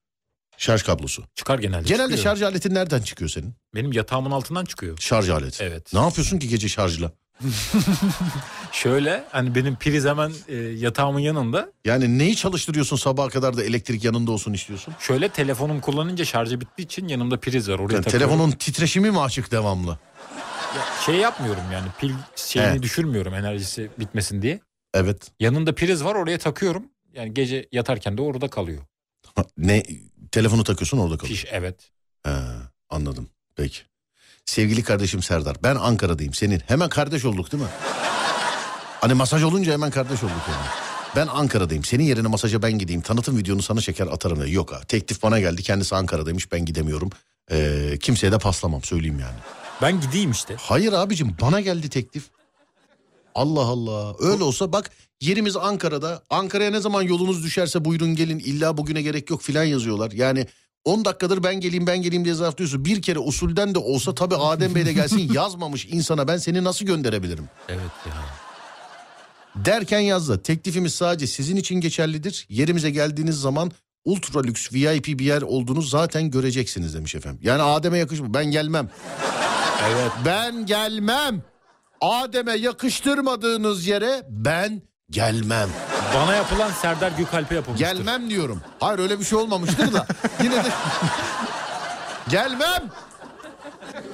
Şarj kablosu. Çıkar genelde. Genelde Çıkıyor. şarj aleti nereden çıkıyor senin? Benim yatağımın altından çıkıyor. Şarj aleti. Evet. Ne yapıyorsun ki gece şarjla? Şöyle hani benim priz hemen e, yatağımın yanında. Yani neyi çalıştırıyorsun sabaha kadar da elektrik yanında olsun istiyorsun? Şöyle telefonum kullanınca şarjı bittiği için yanımda priz var. Oraya Yani takıyorum. telefonun titreşimi mi açık devamlı? Şey yapmıyorum yani pil şeyini Evet. düşürmüyorum enerjisi bitmesin diye. Evet. Yanında priz var oraya takıyorum. Yani gece yatarken de orada kalıyor. Ha, Ne telefonu takıyorsun orada kalıyor. Piş evet. He, anladım. Peki. Sevgili kardeşim Serdar ben Ankara'dayım senin. Hemen kardeş olduk değil mi? Hani masaj olunca hemen kardeş olduk yani. Ben Ankara'dayım. Senin yerine masaja ben gideyim. Tanıtım videonu sana çeker atarım. dedi. Yok ha. Teklif bana geldi. Kendisi Ankara'daymış. Ben gidemiyorum. Ee, kimseye de paslamam. Söyleyeyim yani. Ben gideyim işte. Hayır abicim bana geldi teklif. Allah Allah. Öyle olsa bak yerimiz Ankara'da. Ankara'ya ne zaman yolunuz düşerse buyurun gelin. İlla bugüne gerek yok filan yazıyorlar. Yani 10 dakikadır ben geleyim ben geleyim diye zarflıyorsun. Bir kere usulden de olsa tabii Adem Bey de gelsin yazmamış insana ben seni nasıl gönderebilirim? Evet ya. Derken yazdı. Teklifimiz sadece sizin için geçerlidir. Yerimize geldiğiniz zaman ultra lüks VIP bir yer olduğunu zaten göreceksiniz demiş efendim. Yani Adem'e yakışmıyor. Ben gelmem. Evet. Ben gelmem. Adem'e yakıştırmadığınız yere ben gelmem. Bana yapılan Serdar Gökalp'e yapılmıştır. Gelmem diyorum. Hayır öyle bir şey olmamıştır da. Yine de gelmem.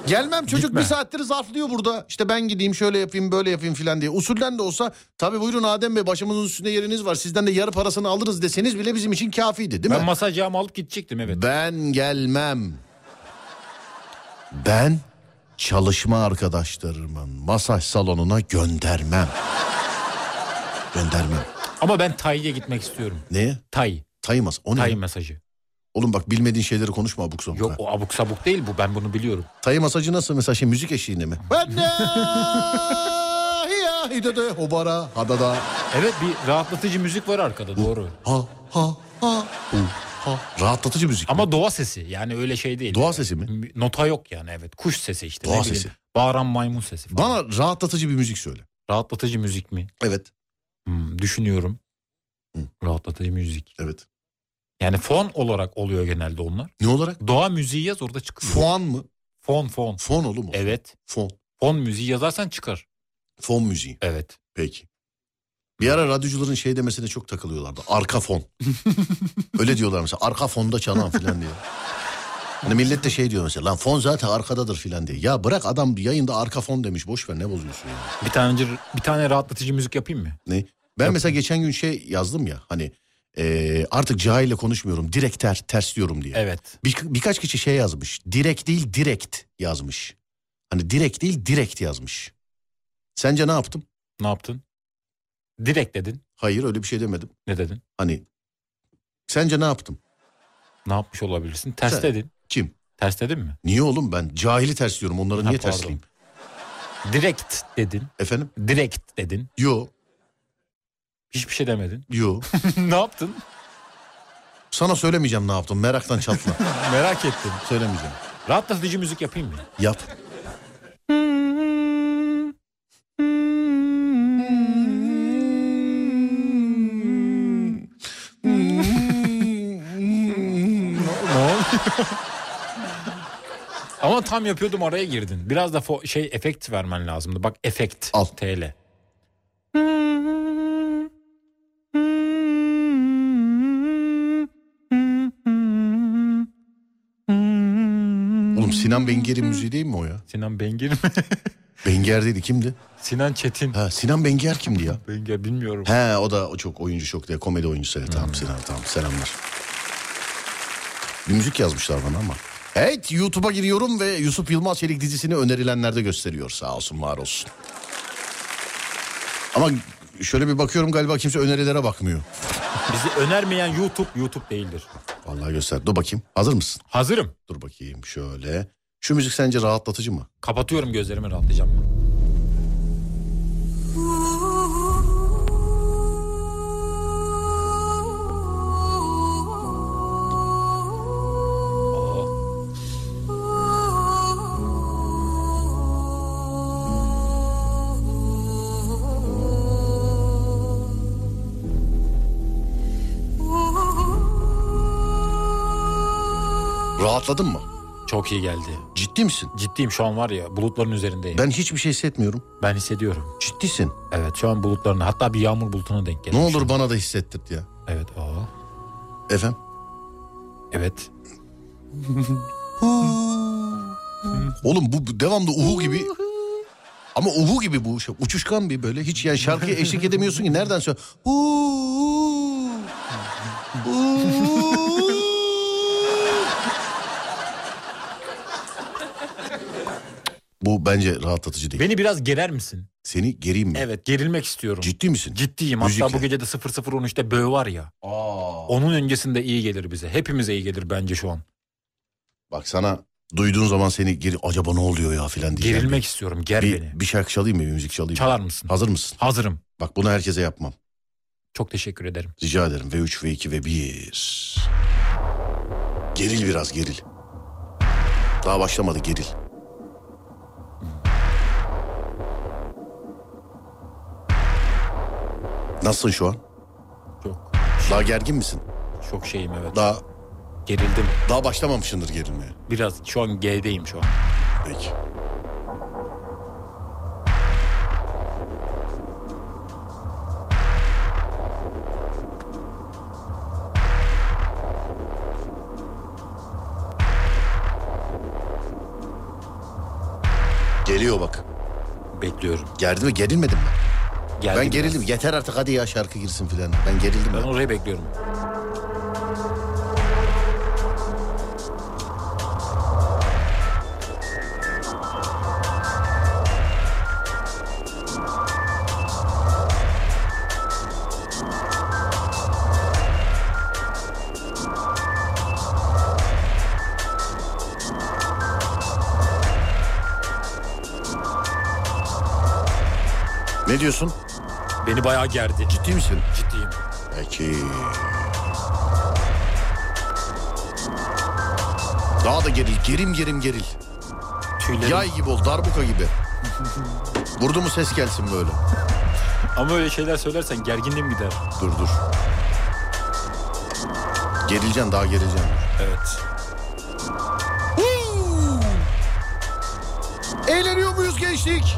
Gelmem çocuk Gitme. bir saattir zarflıyor burada. İşte ben gideyim şöyle yapayım böyle yapayım filan diye. Usulden de olsa tabii buyurun Adem Bey başımızın üstünde yeriniz var. Sizden de yarı parasını alırız deseniz bile bizim için kafiydi değil mi? Ben masaj yağımı alıp gidecektim evet. Ben gelmem. Ben çalışma arkadaşlarımın masaj salonuna göndermem. göndermem. Ama ben Tay'a gitmek istiyorum. Neye? Tay. Taymaz. O ne? Tay masajı. Oğlum bak bilmediğin şeyleri konuşma abuk sabuk. Yok ha. o abuk sabuk değil bu ben bunu biliyorum. Tay masajı nasıl mesela şey müzik eşiğinde mi? Ben de hiya hidede hobara hadada Evet bir rahatlatıcı müzik var arkada doğru. ha ha ha hu, ha. Rahatlatıcı müzik. Ama doğa sesi yani öyle şey değil. Doğa sesi mi? Nota yok yani evet. Kuş sesi işte. ne Doğa bileyim. sesi. Bağıran maymun sesi falan. Bana rahatlatıcı bir müzik söyle. Rahatlatıcı müzik mi? Evet. Hmm, düşünüyorum. Rahatlatıcı müzik. Evet. Yani fon olarak oluyor genelde onlar. Ne olarak? Doğa müziği yaz orada çıkıyor. Fon mı? Fon fon. Fon oğlum mu? Evet. Fon. Fon müziği yazarsan çıkar. Fon müziği. Evet. Peki. Bir ara radyocuların şey demesine çok takılıyorlardı. Arka fon. Öyle diyorlar mesela. Arka fonda çalan filan diye. Hani millet de şey diyor mesela. Lan fon zaten arkadadır filan diye. Ya bırak adam yayında arka fon demiş. Boş ver ne bozuyorsun ya. Bir tane bir tane rahatlatıcı müzik yapayım mı? Ne? Ben mesela geçen gün şey yazdım ya. Hani eee, artık cahille konuşmuyorum. Direkt ter, ters diyorum diye. Evet. Bir- birkaç kişi şey yazmış. Direkt değil direkt yazmış. Hani direkt değil direkt yazmış. Sence ne yaptım? Ne yaptın? Direkt dedin. Hayır öyle bir şey demedim. Ne dedin? Hani sence ne yaptım? Ne yapmış olabilirsin? Ters Sen- dedin. Kim? Ters dedin mi? Niye oğlum ben cahili tersliyorum onları Ha, niye pardon. tersleyeyim? Direkt dedin. Efendim? Direkt dedin. Yo Hiçbir şey demedin. yo. ne yaptın? Sana söylemeyeceğim ne yaptım meraktan çatla. Merak ettim. söylemeyeceğim. Rahatlatıcı müzik yapayım mı? Yap. Ama tam yapıyordum araya girdin. Biraz da fo- şey efekt vermen lazımdı. Bak efekt. Al. TL. Oğlum Sinan Benger'in müziği değil mi o ya? Sinan Bengir mi? Benger değil kimdi? Sinan Çetin. Ha Sinan Benger kimdi ya? Benger bilmiyorum. He o da o çok oyuncu çok diye komedi oyuncusu. Evet, Tamam Sinan tamam selamlar. Bir müzik yazmışlar bana ama. Evet YouTube'a giriyorum ve Yusuf Yılmaz Çelik dizisini önerilenlerde gösteriyor sağ olsun var olsun. Ama şöyle bir bakıyorum galiba kimse önerilere bakmıyor. Bizi önermeyen YouTube, YouTube değildir. Vallahi göster. Dur bakayım. Hazır mısın? Hazırım. Dur bakayım şöyle. Şu müzik sence rahatlatıcı mı? Kapatıyorum gözlerimi rahatlayacağım. ben. Aa. Rahatladın mı? Çok iyi geldi. Ciddi misin? Ciddiyim şu an var ya bulutların üzerindeyim. Ben, Ben hiçbir şey hissetmiyorum. hissediyorum. Ciddisin. Evet şu an bulutların hatta bir yağmur bulutuna denk Ne geldim. olur bana da hissettirt ya. Evet. Aa. Efendim? Evet. Oğlum bu bu devamlı uhu gibi. Ama uhu gibi bu şey. Uçuşkan bir böyle. Hiç yani şarkıya eşlik edemiyorsun ki. Nereden söyle? Uhu. Uhu. bu bence rahatlatıcı değil. Beni biraz gerer misin? Seni gereyim mi? Evet gerilmek istiyorum. Ciddi misin? Ciddiyim. Müzikle. Hatta bu gece de 0013'te böğ var ya. Aa. Onun öncesinde iyi gelir bize. Hepimize iyi gelir bence şu an. Bak sana duyduğun zaman seni geri acaba ne oluyor ya filan diye. Gerilmek istiyorum. Ger beni. bir, bir şarkı çalayım mı bir müzik çalayım mı? Çalar mısın? Hazır mısın? Hazırım. Bak bunu herkese yapmam. Çok teşekkür ederim. Rica ederim. V3, V2 ve 1. Geril biraz geril. Daha başlamadı geril. Nasılsın şu an? Çok Daha gergin misin? çok şeyim evet. Daha Gerildim. daha başlamamışsındır gerilmeye. Biraz şu an G'deyim şu an. Peki. Geliyor bak. Bekliyorum. Gerdi mi? Gerilmedim mi? Geldi ben biraz. gerildim. Yeter artık hadi ya şarkı girsin filan. Ben gerildim. Ben Ben. orayı bekliyorum. Ne diyorsun? Beni bayağı gerdi. Ciddi misin? Ciddiyim. Peki. Daha da geril. Gerim gerim geril. Tüylerim. Yay gibi ol, darbuka gibi. Vurdu mu ses gelsin böyle. Ama öyle şeyler söylersen gerginliğim gider. Dur dur. Gerileceksin daha gerileceksin. Evet. Eğleniyor muyuz gençlik?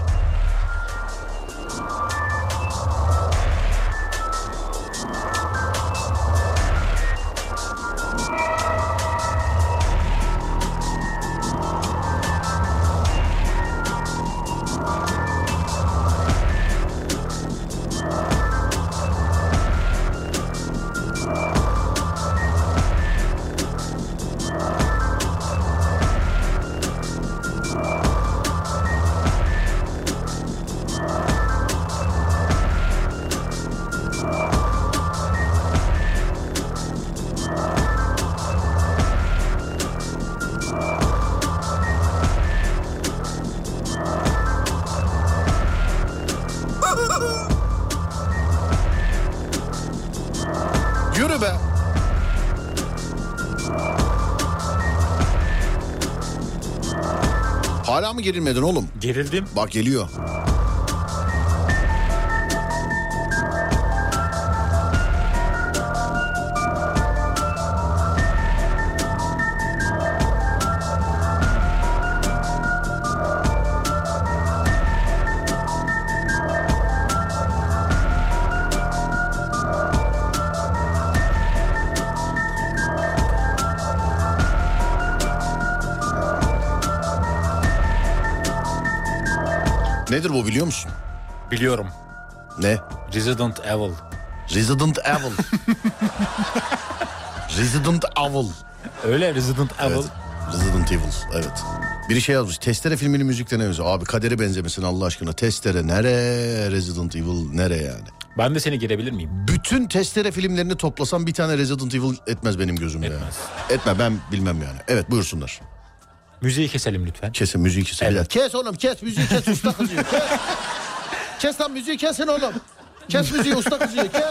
Yürü be. Hala mı gerilmedin oğlum? Gerildim. Bak geliyor. Nedir bu biliyor musun? Biliyorum. Ne? Resident Evil. Resident Evil. Resident Evil. Öyle Resident Evil. Evet. Resident Evil. Evet. Biri şey yazmış. Testere filminin müziklerine benziyor. Abi kadere benzemesin Allah aşkına. Testere nere? Resident Evil nere yani? Ben de seni girebilir miyim? Bütün testere filmlerini toplasam bir tane Resident Evil etmez benim gözümde. Etmez. Ya. Etme ben bilmem yani. Evet buyursunlar. Müziği keselim lütfen. Kesin müziği kesin. Evet. Bir dakika. Kes oğlum kes müziği kes usta kızıyor. Kes. kes lan müziği kesin oğlum. Kes müziği usta kızıyor. Kes.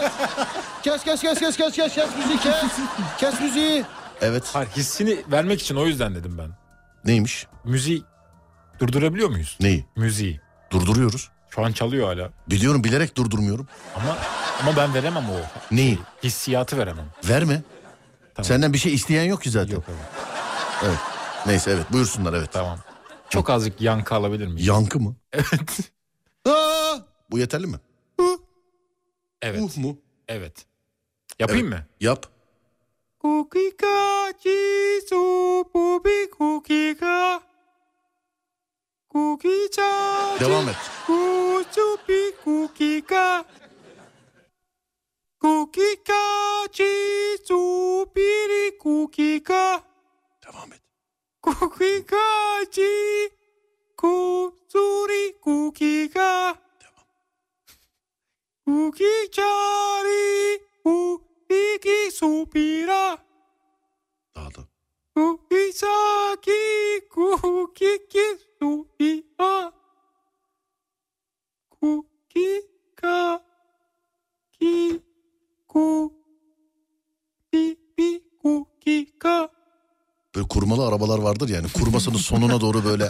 Kes kes kes kes kes kes kes müziği kes. Kes müziği. Evet. Hayır hissini vermek için o yüzden dedim ben. Neymiş? Müziği durdurabiliyor muyuz? Neyi? Müziği. Durduruyoruz. Şu an çalıyor hala. Biliyorum bilerek durdurmuyorum. Ama ama ben veremem o. Neyi? Hissiyatı veremem. Verme. Senden bir şey isteyen yok ki zaten. Yok evet. Evet. Neyse evet buyursunlar evet. Tamam. Çok azıcık yankı alabilir miyim? Yankı mı? Evet. Aa! Bu yeterli mi? evet. Uh mu? Evet. Yapayım mı? Yap. Kukika chisu bubi kukika Kukica Devam et. Kuchupi kukika Kukika chisu piri kukika Devam et. Kukika chi kusuri kukika Kukichari kukiki supira Daha da. Kukisaki kukiki supira Kukika ki ku pipi kukika Böyle kurmalı arabalar vardır yani. Kurmasının sonuna doğru böyle.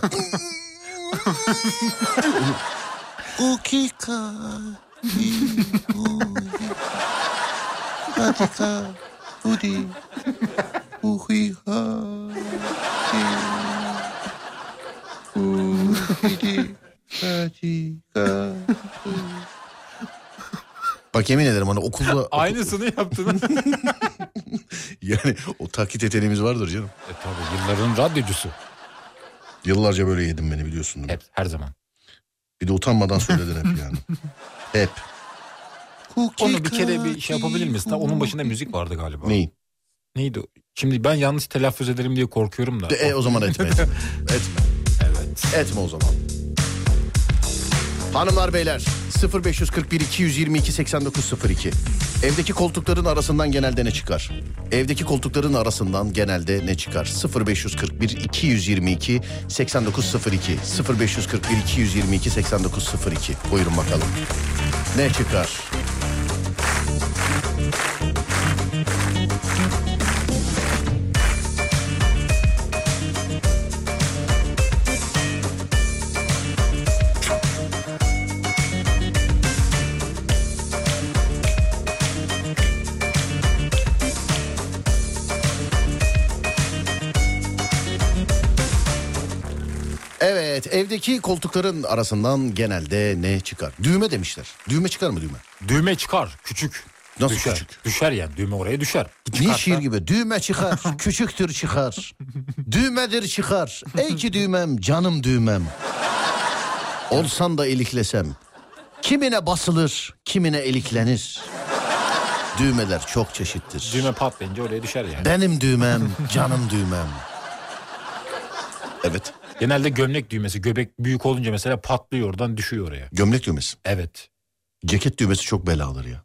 Ukika. Ukika. Udi. Uhiha. Bak yemin ederim hani okulda Aynısını yaptın. yani o taklit yeteneğimiz vardır canım. e tabi yılların radyocusu. Yıllarca böyle yedim beni biliyorsun değil mi? Hep her zaman. Bir de utanmadan söyledin hep yani. Hep. Onu bir kere bir şey yapabilir misin? Ta Onun başında müzik vardı galiba. Neyi? Neydi? o? Şimdi ben yanlış telaffuz ederim diye korkuyorum da. De- E, o zaman etme. etme. etme. Evet. Etme o zaman. Hanımlar beyler 0541 222 8902 Evdeki koltukların arasından genelde ne çıkar? Evdeki koltukların arasından genelde ne çıkar? 0541 222 8902 0541 222 8902 Buyurun bakalım. Ne çıkar? Evet evdeki koltukların arasından genelde ne çıkar? Düğme demişler. Düğme çıkar mı düğme? Düğme çıkar. Küçük. Nasıl düşer. küçük? Düşer yani. Düğme oraya düşer. Niye şiir gibi? Düğme çıkar, küçüktür çıkar. Düğmedir çıkar. Ey ki düğmem, canım düğmem. Olsan da iliklesem. Kimine basılır, kimine iliklenir. Düğmeler çok çeşittir. Düğme patlayınca oraya düşer yani. Benim düğmem, canım düğmem. Evet, Genelde gömlek düğmesi. Göbek büyük olunca mesela patlıyor oradan düşüyor oraya. gömlek düğmesi. Evet. Ceket düğmesi çok beladır ya.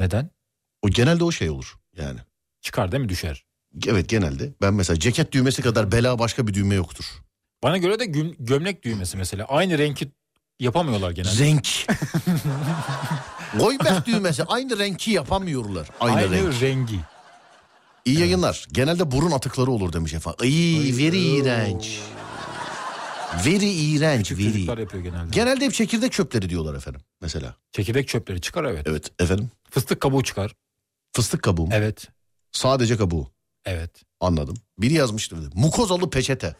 Neden? O genelde o şey olur yani. Çıkar değil mi? Düşer. Evet genelde. Ben mesela ceket düğmesi kadar bela başka bir düğme yoktur. Bana göre de göm- gömlek düğmesi mesela. Aynı renki yapamıyorlar genelde. Renk. Goybet düğmesi aynı renki yapamıyorlar. Aynı, renk. rengi. İyi yayınlar. Genelde burun atıkları olur demiş efendim. İyi, veri iğrenç. Veri iğrenç, Küçük veri. çocuklar yapıyor genelde. Genelde hep çekirdek çöpleri diyorlar efendim mesela. Çekirdek çöpleri çıkar evet. Evet efendim. Fıstık kabuğu çıkar. Fıstık kabuğu mu? Evet. Sadece kabuğu. Evet. Anladım. Biri yazmıştı bir de. Mukozalı peçete.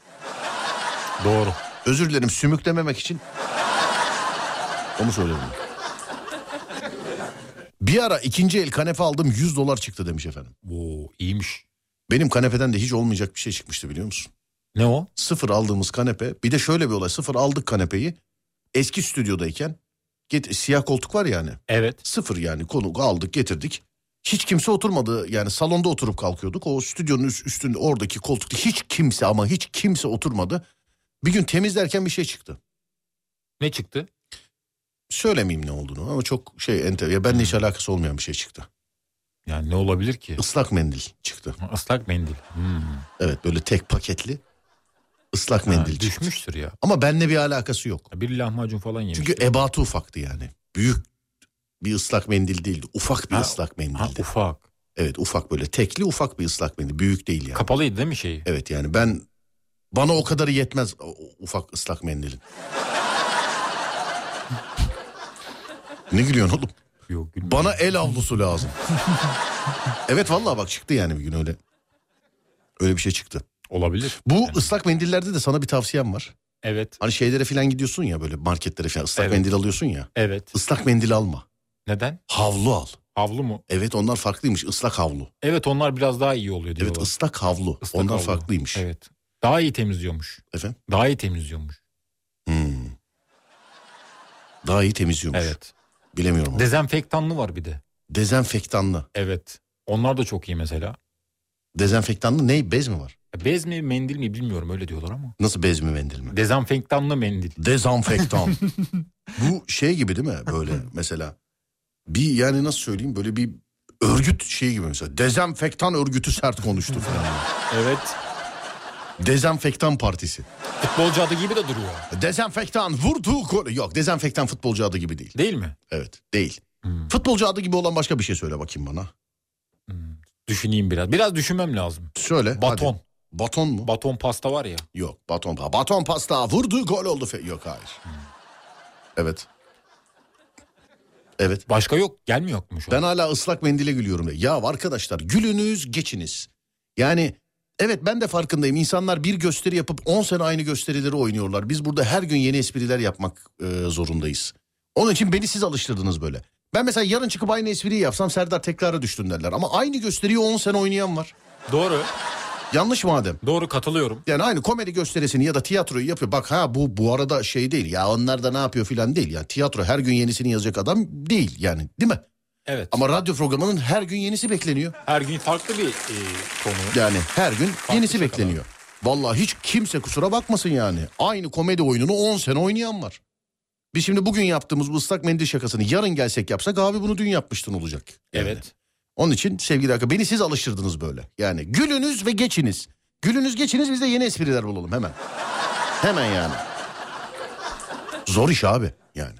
Doğru. Özür dilerim sümüklememek için. Onu söyledim. Bir ara ikinci el kanepe aldım 100 dolar çıktı demiş efendim. Oo, iyiymiş. Benim kanepeden de hiç olmayacak bir şey çıkmıştı biliyor musun? Ne o? Sıfır aldığımız kanepe. Bir de şöyle bir olay. Sıfır aldık kanepeyi. Eski stüdyodayken get, siyah koltuk var yani. Evet. Sıfır yani konuk aldık getirdik. Hiç kimse oturmadı yani salonda oturup kalkıyorduk. O stüdyonun üst- üstünde oradaki koltukta hiç kimse ama hiç kimse oturmadı. Bir gün temizlerken bir şey çıktı. Ne çıktı? Söylemeyeyim ne olduğunu ama çok şey enter. Ya benimle Hmm. hiç alakası olmayan bir şey çıktı. Yani ne olabilir ki? Islak mendil çıktı. Islak mendil. Hmm. Evet böyle tek paketli ıslak Ha, mendil çıktı. düşmüştür ya. Ama benimle bir alakası yok. Bir lahmacun falan yemiş. Çünkü ebatı ufaktı yani. Büyük bir ıslak mendil değildi. Ufak bir Ha, ıslak ha, mendildi. ufak. evet ufak böyle tekli ufak bir ıslak mendil. Büyük değil yani. Kapalıydı değil mi şey? şeyi? evet yani ben bana o kadarı yetmez o- o ufak ıslak mendilin. ne gülüyorsun oğlum? Yok. gülmüyor. Bana el avlusu lazım. evet vallahi bak çıktı yani bir gün öyle. Öyle bir şey çıktı. Olabilir. Bu Yani, ıslak mendillerde de sana bir tavsiyem var. evet. Hani şeylere falan gidiyorsun ya böyle marketlere falan ıslak Evet. mendil alıyorsun ya. Evet. Islak mendil alma. Neden? Havlu al. Havlu mu? Evet onlar farklıymış ıslak havlu. Evet onlar biraz daha iyi oluyor diyorlar. Evet ıslak havlu Islak onlar havlu. farklıymış. Evet. Daha iyi temizliyormuş. Efendim? Daha iyi temizliyormuş. Hmm. Daha iyi temizliyormuş. Evet. Bilemiyorum. ama. Dezenfektanlı var bir de. Dezenfektanlı. Evet. Onlar da çok iyi mesela. Dezenfektanlı ne bez mi var? Bez mi mendil mi bilmiyorum öyle diyorlar ama. Nasıl bez mi mendil mi? Dezenfektanlı mendil. Dezenfektan. Bu şey gibi değil mi böyle mesela? Bir yani nasıl söyleyeyim böyle bir örgüt şeyi gibi mesela. Dezenfektan örgütü sert konuştu falan. Evet. Dezenfektan partisi. Futbolcu adı gibi de duruyor. Dezenfektan vurdu gol. Yok dezenfektan futbolcu adı gibi değil. Değil mi? Evet değil. Hmm. Futbolcu adı gibi olan başka bir şey söyle bakayım bana. Düşüneyim biraz. Biraz düşünmem lazım. Söyle. Baton. hadi. Baton mu? Baton pasta var ya. Yok baton. pa- Baton pasta vurdu gol oldu. Fe- Yok hayır. Hmm. Evet. Evet. Başka yok. Gelmiyor mu şu an? Ben hala ıslak mendile gülüyorum. Ya arkadaşlar gülünüz geçiniz. Yani evet ben de farkındayım. İnsanlar bir gösteri yapıp 10 sene aynı gösterileri oynuyorlar. Biz burada her gün yeni espriler yapmak e, zorundayız. Onun için beni siz alıştırdınız böyle. Ben mesela yarın çıkıp aynı espriyi yapsam Serdar tekrara düştün derler. Ama aynı gösteriyi 10 sene oynayan var. Doğru. Yanlış madem. Doğru katılıyorum. Yani aynı komedi gösterisini ya da tiyatroyu yapıyor. Bak ha bu bu arada şey değil ya onlar da ne yapıyor filan değil. Yani tiyatro her gün yenisini yazacak adam değil yani değil mi? Evet. Ama radyo programının her gün yenisi bekleniyor. Her gün farklı bir e, konu. Yani her gün yenisi şakalar. bekleniyor. Vallahi hiç kimse kusura bakmasın yani. Aynı komedi oyununu 10 sene oynayan var. Biz şimdi bugün yaptığımız bu ıslak mendil şakasını yarın gelsek yapsak abi bunu dün yapmıştın olacak. Yani. Evet. Onun için sevgili arkadaşlar beni siz alıştırdınız böyle. Yani gülünüz ve geçiniz. Gülünüz geçiniz biz de yeni espriler bulalım hemen. Hemen yani. Zor iş abi yani.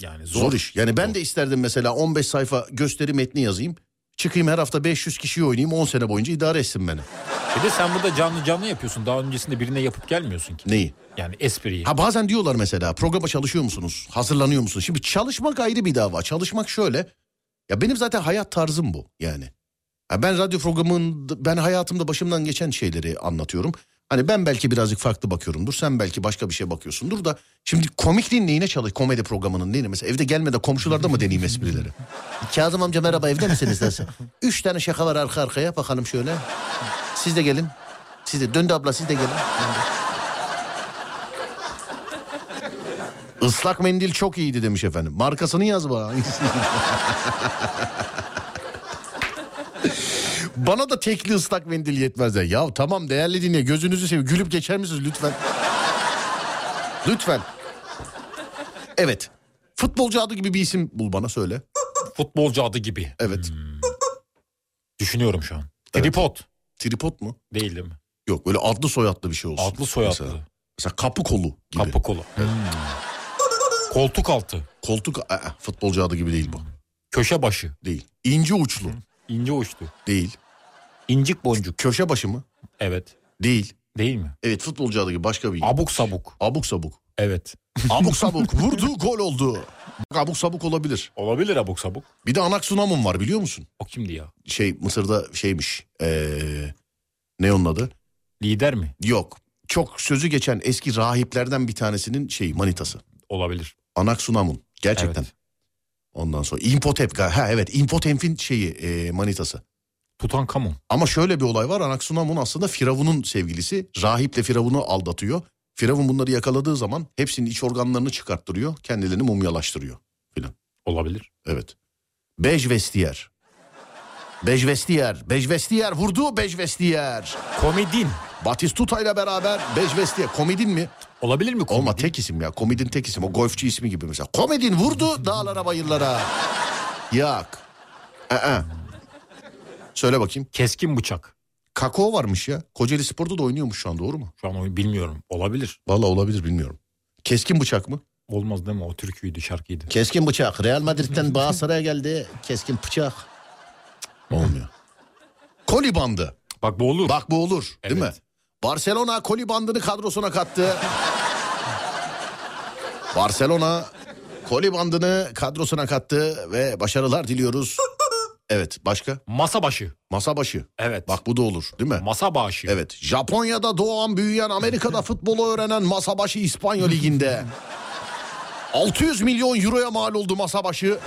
Yani Zor, zor. iş. Yani ben de isterdim mesela 15 sayfa gösteri metni yazayım. Çıkayım her hafta 500 kişiyi oynayayım 10 sene boyunca idare etsin beni. Bir de sen burada canlı canlı yapıyorsun. Daha öncesinde birine yapıp gelmiyorsun ki. Neyi? Yani espriyi. Ha bazen diyorlar mesela programa çalışıyor musunuz? Hazırlanıyor musunuz? Şimdi çalışmak ayrı bir dava. Çalışmak şöyle. Ya benim zaten hayat tarzım bu yani. Ha ben radyo programının ben hayatımda başımdan geçen şeyleri anlatıyorum. Hani ben belki birazcık farklı bakıyorumdur. Sen belki başka bir şey bakıyorsundur da. Şimdi komikliğin neyine çalış? Komedi programının neyine? Mesela evde gelmeden komşularda mı deneyeyim esprileri? Kazım amca merhaba evde misiniz derse. Üç tane şaka var arka arkaya bakalım şöyle. Siz de gelin. Siz de döndü abla siz de gelin. Islak mendil çok iyiydi demiş efendim. Markasını yaz bana. bana da tekli ıslak mendil yetmez. Ya, ya tamam değerli dinle gözünüzü seveyim. Gülüp geçer misiniz lütfen? lütfen. Evet. Futbolcu adı gibi bir isim bul bana söyle. Futbolcu adı gibi. Evet. Düşünüyorum şu an. Evet. Tripod. Tripod mu? Değil değil mi? Yok böyle adlı soyadlı bir şey olsun. Adlı soyadlı. Mesela, mesela kapı kolu gibi. Kapı kolu. Hmm. Koltuk altı. Koltuk aa, futbolcu adı gibi Hmm. değil bu. Köşe başı. Değil. İnce uçlu. Hmm. İnce uçtu. Değil. İncik boncuk. Köşe başı mı? Evet. Değil. Değil mi? Evet futbolcu adı gibi başka bir. Abuk sabuk. abuk sabuk. Evet. Abuk sabuk vurdu gol oldu. Bak abuk sabuk olabilir. Olabilir abuk sabuk. Bir de Anaksunamon var biliyor musun? O kimdi ya? Şey Mısır'da şeymiş. Ee, ne onun adı? Lider mi? Yok. Çok sözü geçen eski rahiplerden bir tanesinin şeyi manitası. Olabilir. Anaksunamon. Gerçekten. Evet. Ondan sonra İmpotep. Ha evet İmpotem'in şeyi ee, manitası. Tutankamon. Ama şöyle bir olay var. Anaksunamon aslında Firavun'un sevgilisi. Rahiple Firavun'u aldatıyor. Firavun bunları yakaladığı zaman hepsinin iç organlarını çıkarttırıyor. Kendilerini mumyalaştırıyor filan. Olabilir. Evet. Bejvestiyer. Bejvestiyer. Bejvestiyer vurdu Bejvestiyer. Komedin. Batistuta ile beraber Bejvestiyer. Komedin mi? Olabilir mi komedin? Olma tek isim ya. Komedin tek isim. O golfçi ismi gibi mesela. Komedin vurdu dağlara bayırlara. Yak. Ee. Söyle bakayım. Keskin bıçak. Kakao varmış ya. Kocaeli Spor'da da oynuyormuş şu an doğru mu? Şu an oyun bilmiyorum. Olabilir. Valla olabilir bilmiyorum. Keskin bıçak mı? Olmaz değil mi? O türküydü, şarkıydı. Keskin bıçak. Real Madrid'den Galatasaray'a geldi. Keskin bıçak. Olmuyor. Koli bandı. Bak bu olur. Bak bu olur değil mi? Evet. Barcelona koli bandını kadrosuna kattı. Barcelona koli bandını kadrosuna kattı ve başarılar diliyoruz. Evet başka? Masa başı. Masa başı. Evet. Bak. Bak bu da olur değil mi? Masa başı. Evet. Japonya'da doğan büyüyen Amerika'da futbolu öğrenen Masabaşı İspanya Ligi'nde. 600 milyon euroya mal oldu Masabaşı.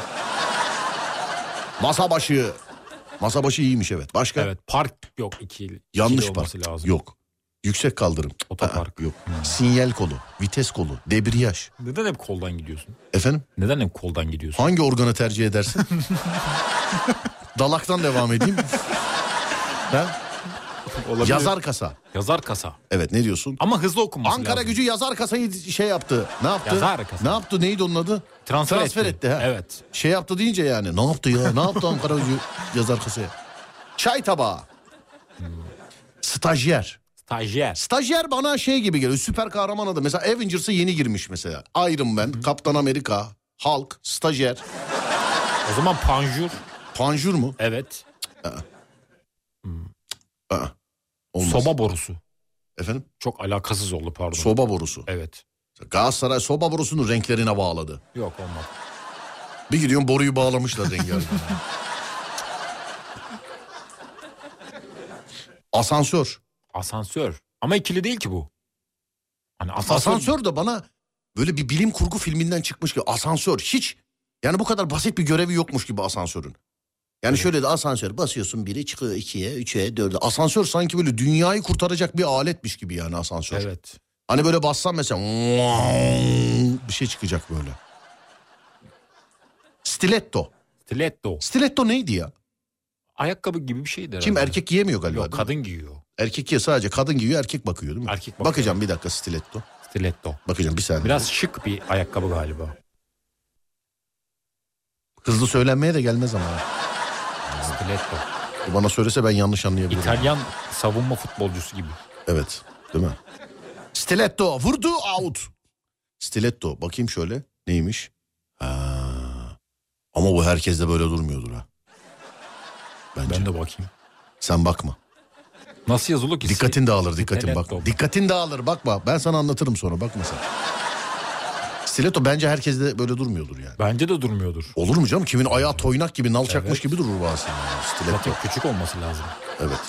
Masabaşı. Masabaşı iyiymiş evet. Başka? Evet. Park yok ikili. Yanlış ikili olması park. lazım. Yok. Yüksek kaldırım. Otopark. Aa, yok. Sinyal kolu, vites kolu, debriyaj. Neden hep koldan gidiyorsun? Efendim? Neden hep koldan gidiyorsun? Hangi organı tercih edersin? Dalaktan devam edeyim. ha? Olabilir. Yazar kasa. Yazar kasa. Evet ne diyorsun? Ama hızlı okunması Ankara lazım. gücü yazar kasayı şey yaptı. Ne yaptı? Yazar kasa. Ne yaptı? Neydi onun adı? Transfer, Transfer etti. ha. Evet. Şey yaptı deyince yani. Ne yaptı ya? Ne yaptı Ankara gücü yazar kasaya? Çay tabağı. Hmm. Stajyer. Stajyer. Stajyer bana şey gibi geliyor. Süper kahraman adı. Mesela Avengers'a yeni girmiş mesela. Iron Man, Kaptan Amerika, Hulk, stajyer. O zaman panjur. Panjur mu? Evet. Aa, olmaz. Soba borusu. Efendim? Çok alakasız oldu pardon. Soba borusu. evet. Galatasaray soba borusunun renklerine bağladı. Yok olmaz. Bir gidiyorsun boruyu bağlamışlar rengarenk. Asansör. Asansör. Ama ikili değil ki bu. Hani asansör. Asansör de bana böyle bir bilim kurgu filminden çıkmış gibi asansör hiç yani bu kadar basit bir görevi yokmuş gibi asansörün. Yani şöyle de asansör basıyorsun biri çıkıyor ikiye, üçe, dörde. Asansör sanki böyle dünyayı kurtaracak bir aletmiş gibi yani asansör. Evet. Hani böyle bassan mesela bir şey çıkacak böyle. Stiletto. Stiletto. Stiletto neydi ya? Ayakkabı gibi bir şeydi herhalde. Kim erkek giyemiyor galiba. Yok değil mi? kadın giyiyor. Erkek giyiyor sadece kadın giyiyor erkek bakıyor değil mi? Erkek bakıyor. Bakacağım bir dakika stiletto. Stiletto. Bakacağım bir saniye. Biraz şık bir ayakkabı galiba. Hızlı söylenmeye de gelmez ama. Stiletto. Bu Bana söylese ben yanlış anlayabilirim. İtalyan savunma futbolcusu gibi. Evet. Değil mi? Stiletto. Vurdu out. Stiletto. Bakayım şöyle. Neymiş? Ha. Ama bu herkes de böyle durmuyordur ha. Bence. Ben de bakayım. Sen bakma. Nasıl yazılı ki? Dikkatin dağılır dikkatin Stiletto. bak. Dikkatin dağılır bakma. Ben sana anlatırım sonra bakma sen. Stiletto bence herkes de böyle durmuyordur yani. Bence de durmuyordur. Olur mu canım? Kimin ayağı toynak gibi, nal çakmış Evet. gibi durur bazen. yani. Stiletto. Zaten küçük olması lazım. Evet.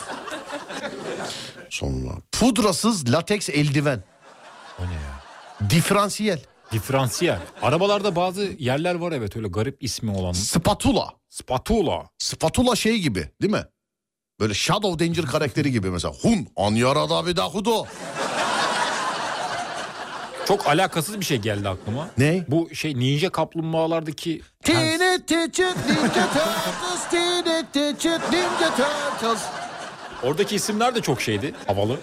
Sonra. Pudrasız lateks eldiven. O ne ya? Diferansiyel. Diferansiyel. Arabalarda bazı yerler var evet öyle garip ismi olan. Spatula. Spatula. Spatula şey gibi değil mi? Böyle Shadow Danger karakteri gibi mesela. Hun anyarada bir dahudo. Çok alakasız bir şey geldi aklıma. Ne? Bu şey ninja kaplumbağalardaki pens- Teenage Ninja Turtles, Teenage Ninja Turtles. oradaki isimler de çok şeydi. Havalı.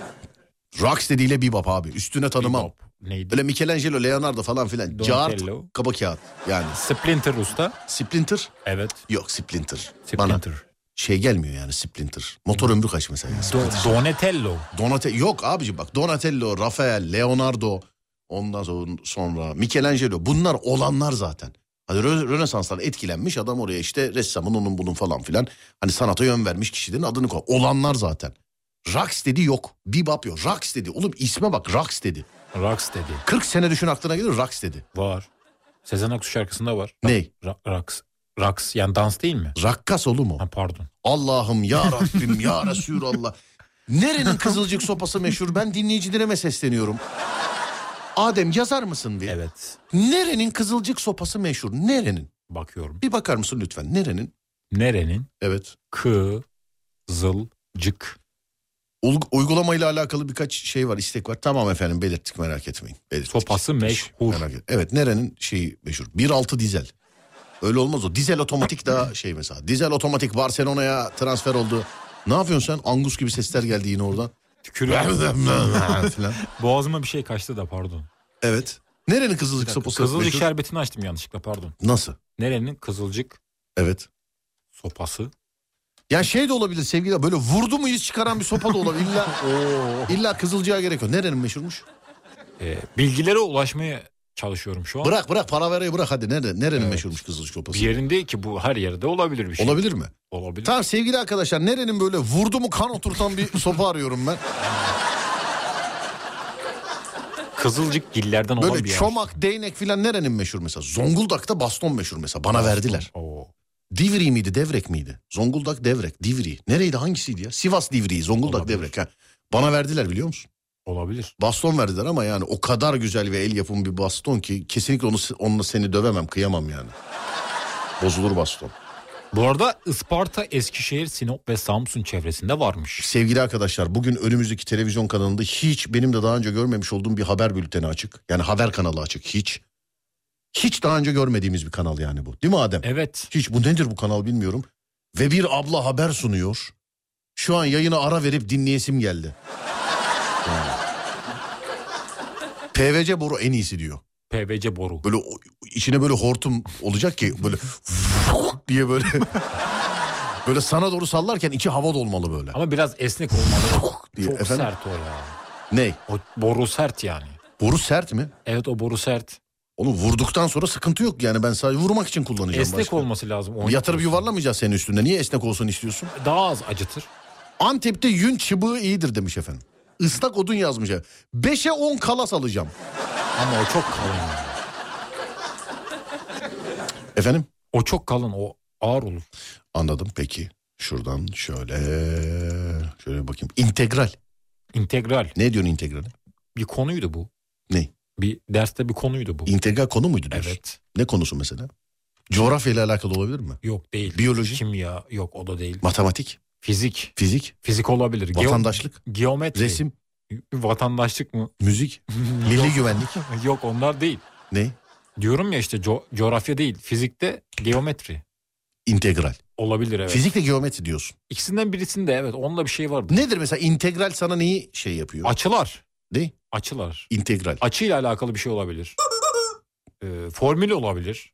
Rocksteady ile Bebop abi. Üstüne tanımam. Bebop. Neydi? Böyle Michelangelo, Leonardo falan filan. Cart, Donatello. kaba kağıt. Yani Splinter Usta. Splinter? Evet. Yok Splinter. Bana Splinter. şey gelmiyor yani Splinter. Motor ömrü kaç mesela? ya? Do- Donatello. Donatello yok abici bak Donatello, Rafael, Leonardo ondan son- sonra Michelangelo bunlar olanlar zaten. Hani Rö- Rönesans'tan etkilenmiş adam oraya işte ressamın onun bunun falan filan. Hani sanata yön vermiş kişilerin adını koy. Olanlar zaten. Rax dedi yok. Bebop yok. Rax dedi. Oğlum isme bak Rax dedi. Rocksteady. 40 sene düşün aklına gelir Rax dedi. Var. Sezen Aksu şarkısında var. Ney? Ra- Raks. Raks yani dans değil mi? Rakkas oğlum o. Ha, pardon. Allah'ım ya Rabbim ya Resulallah. Nerenin kızılcık sopası meşhur? Ben dinleyicilerime sesleniyorum. Adem yazar mısın diye. Evet. Nerenin kızılcık sopası meşhur? Nerenin? Bakıyorum. Bir bakar mısın lütfen? Nerenin? Nerenin? Evet. Kızılcık Ul- uygulamayla alakalı birkaç şey var, istek var. Tamam efendim belirttik merak etmeyin. Belirttik. Sopası meşhur. Merak et- Evet nerenin şeyi meşhur? 1.6 dizel. Öyle olmaz o. Dizel otomatik daha şey mesela. Dizel otomatik Barcelona'ya transfer oldu. Ne yapıyorsun sen? Angus gibi sesler geldi yine oradan. Tükürüyor. Falan. Boğazıma bir şey kaçtı da pardon. evet. Nerenin kızılcık sopası? Kızılcık meşhur? şerbetini açtım yanlışlıkla pardon. Nasıl? Nerenin kızılcık Evet. sopası? Ya şey de olabilir sevgili böyle vurdu mu iz çıkaran bir sopa da olabilir. İlla, illa kızılcığa gerek yok. Nerenin meşhurmuş? Ee, bilgilere ulaşmaya çalışıyorum şu an. Bırak bırak paraverayı bırak hadi. Nere, nerenin meşhurmuş kızılcık sopası? Bir yerinde ki bu her yerde olabilir bir şey. Olabilir mi? Olabilir. Tamam sevgili arkadaşlar nerenin böyle vurdu mu kan oturtan bir sopa arıyorum ben. Kızılcık gillerden olan Böyle bir yer. çomak, değnek filan nerenin meşhur mesela? Zonguldak'ta baston meşhur mesela. Bana verdiler. Oo. Divri miydi, devrek miydi? Zonguldak, devrek, divri. Nereydi, hangisiydi ya? Sivas divriği, Zonguldak, Olabilir. devrek. Ha. Bana verdiler biliyor musun? Olabilir. Baston verdiler ama yani o kadar güzel ve el yapımı bir baston ki kesinlikle onu onunla seni dövemem, kıyamam yani. Bozulur baston. Bu arada Isparta, Eskişehir, Sinop ve Samsun çevresinde varmış. Sevgili arkadaşlar bugün önümüzdeki televizyon kanalında hiç benim de daha önce görmemiş olduğum bir haber bülteni açık. Yani haber kanalı açık hiç. Hiç daha önce görmediğimiz bir kanal yani bu. Değil mi Adem? Evet. Hiç bu nedir bu kanal bilmiyorum. Ve bir abla haber sunuyor. Şu an yayına ara verip dinleyesim geldi. Yani. PVC boru en iyisi diyor. PVC boru. Böyle o- içine böyle hortum olacak ki böyle diye böyle böyle sana doğru sallarken içi hava dolmalı böyle. Ama biraz esnek olmalı. diye. Çok Efendim? sert o ya. Ney? O boru sert yani. Boru sert mi? Evet o boru sert. Onu vurduktan sonra sıkıntı yok yani ben sadece vurmak için kullanacağım. esnek başka. olması lazım. Oynatıyorsun. Yatırıp yuvarlamayacağız senin üstünde. Niye esnek olsun istiyorsun? Daha az acıtır. Antep'te yün çıbığı iyidir demiş efendim. Islak odun yazmış. efendim. Beşe on kalas alacağım. Ama o çok kalın. yani. Efendim? O çok kalın. O ağır olur. Anladım peki. Şuradan şöyle şöyle bakayım. İntegral. İntegral. Ne diyorsun integrale? Bir konuydu bu. Ne? Bir derste bir konuydu bu. İntegral konu muydu diyorsun? Evet. Ne konusu mesela? Coğrafya ile alakalı olabilir mi? Yok değil. Biyoloji? Kimya yok o da değil. Matematik, Fizik. fizik, Fizik olabilir. Geo- vatandaşlık, Geometri. resim, Vatandaşlık mı? müzik, milli güvenlik. yok onlar değil. Ne? Diyorum ya işte co- coğrafya değil. Fizikte geometri. İntegral. Olabilir evet. Fizikle geometri diyorsun. İkisinden birisinde evet. Onunla bir şey vardı. Nedir mesela integral sana neyi şey yapıyor? Açılar. Ne? Açılar. İntegral. Açıyla alakalı bir şey olabilir. Ee, formül olabilir.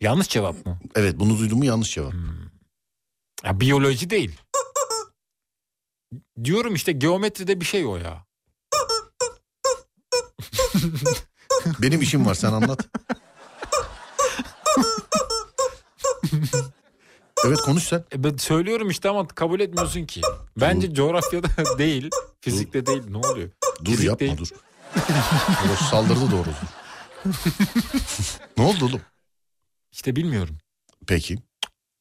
Yanlış cevap mı? Evet bunu duydun mu yanlış cevap. Hmm. Ya, biyoloji değil. Diyorum işte geometride bir şey o ya. Benim işim var sen anlat. evet konuş sen. E ben söylüyorum işte ama kabul etmiyorsun ki. Bence coğrafyada değil, fizikte değil. Ne oluyor? Dur Fizik yapma değil. dur. Orası saldırdı doğrusu. ne oldu oğlum? İşte bilmiyorum. Peki.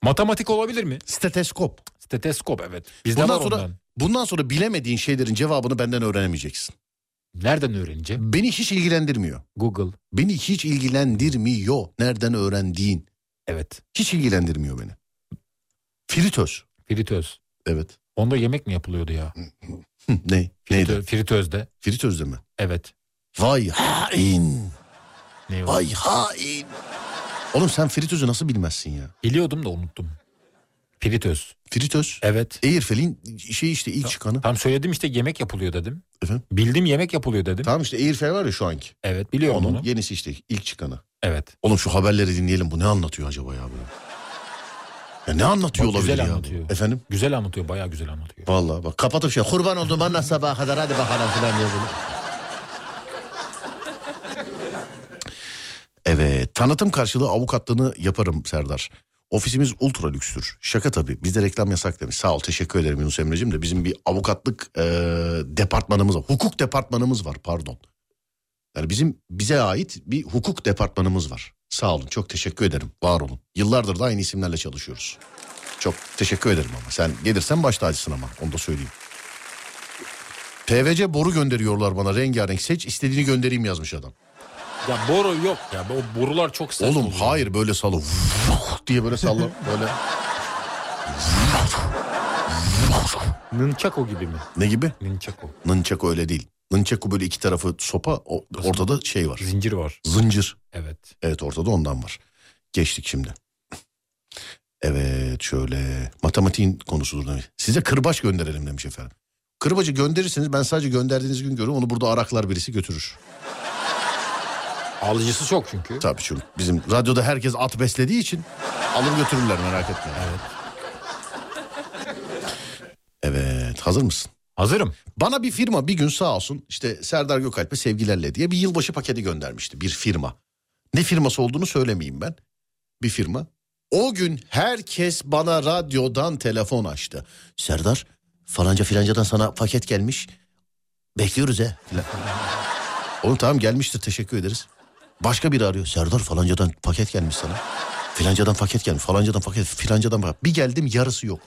Matematik olabilir mi? Steteskop. Steteskop evet. Bizde Bundan var sonra- ondan. Bundan sonra bilemediğin şeylerin cevabını benden öğrenemeyeceksin. Nereden öğreneceğim? Beni hiç ilgilendirmiyor. Google. Beni hiç ilgilendirmiyor. Nereden öğrendiğin. Evet. Hiç ilgilendirmiyor beni. Fritöz. Fritöz. Evet. Onda yemek mi yapılıyordu ya? Hı, ne? Neydi? Fritö- Fritözde. Fritözde mi? Evet. Vay hain. Ne var? Vay hain. Oğlum sen fritözü nasıl bilmezsin ya? Biliyordum da unuttum. Fritöz. Fritöz. Evet. Airfel'in şey işte ilk çıkanı. Tam söyledim işte yemek yapılıyor dedim. Efendim? Bildim yemek yapılıyor dedim. Tamam işte Airfel var ya şu anki. Evet biliyorum Onun onu. yenisi işte ilk çıkanı. Evet. Oğlum şu haberleri dinleyelim bu ne anlatıyor acaba ya bu? Ya ne anlatıyor Bak, olabilir güzel ya? bu? anlatıyor. Efendim? Güzel anlatıyor bayağı güzel anlatıyor. Vallahi bak kapatıp şey kurban oldum bana sabaha kadar hadi bakalım filan diye böyle. Evet tanıtım karşılığı avukatlığını yaparım Serdar. Ofisimiz ultra lükstür. Şaka tabii bizde reklam yasak demiş. Sağ ol teşekkür ederim Yunus Emre'cim de bizim bir avukatlık eee, departmanımız var. Hukuk departmanımız var pardon. Yani bizim bize ait bir hukuk departmanımız var. Sağ olun çok teşekkür ederim var olun. Yıllardır da aynı isimlerle çalışıyoruz. Çok teşekkür ederim ama. Sen gelirsen baş tacısın ama. Onu da söyleyeyim. PVC boru gönderiyorlar bana rengarenk. Seç istediğini göndereyim yazmış adam. Ya boru yok ya. O borular çok sert. Oğlum oluyor. hayır böyle salla. diye böyle salla. Böyle. Nunchako gibi mi? Ne gibi? Nunchako. Nınçako öyle değil. Nınçako böyle iki tarafı sopa o- Nasıl? ortada şey var. Zincir var. Zıncır. Evet. Evet ortada ondan var. Geçtik şimdi. Evet şöyle matematiğin konusudur demiş. Size kırbaç gönderelim demiş efendim. Kırbacı gönderirseniz ben sadece gönderdiğiniz gün görüyorum onu burada araklar birisi götürür. Alıcısı çok çünkü. Tabii çünkü bizim radyoda herkes at beslediği için alır götürürler merak etme. Evet. Evet hazır mısın? Hazırım. Bana bir firma bir gün sağ olsun işte Serdar Gökalp'e sevgilerle diye bir yılbaşı paketi göndermişti bir firma. Ne firması olduğunu söylemeyeyim ben. Bir firma. O gün herkes bana radyodan telefon açtı. Serdar falanca filancadan sana paket gelmiş. Bekliyoruz he. filan. Oğlum tamam gelmiştir teşekkür ederiz. Başka biri arıyor. Serdar falancadan paket gelmiş sana. Filancadan paket gelmiş. Falancadan paket. Filancadan paket. Bir geldim yarısı yok.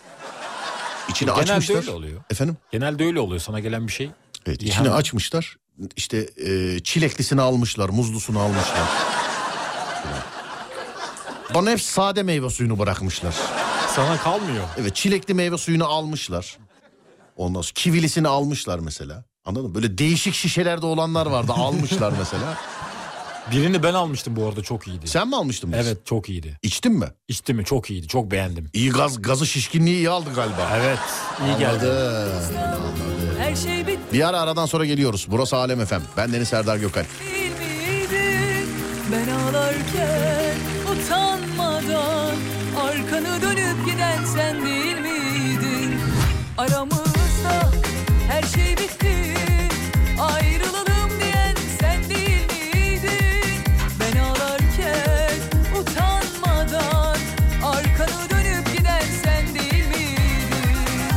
İçini Genelde açmışlar. öyle oluyor. Efendim? Genelde öyle oluyor sana gelen bir şey. Evet Yani- içini açmışlar. İşte e, çileklisini almışlar, muzlusunu almışlar. Bana hep sade meyve suyunu bırakmışlar. Sana kalmıyor. Evet çilekli meyve suyunu almışlar. Ondan sonra kivilisini almışlar mesela. Anladın mı? Böyle değişik şişelerde olanlar vardı almışlar mesela. Birini ben almıştım bu arada çok iyiydi. Sen mi almıştın? biz? Evet çok iyiydi. İçtin mi? İçti mi? Çok iyiydi. Çok beğendim. İyi gaz, gazı şişkinliği iyi aldı galiba. Evet. iyi geldi. Anladım. Her şey bitti Bir ara aradan sonra geliyoruz. Burası Alem Efem. Ben Deniz Serdar Gökalp. miydi? Ben ağlarken utanmadan arkanı dönüp giden sen değil miydin? Aramızda her şey bitti. Ayrılalım diyen sen değil miydin? Ben ağlarken utanmadan arkanı dönüp giden sen değil miydin?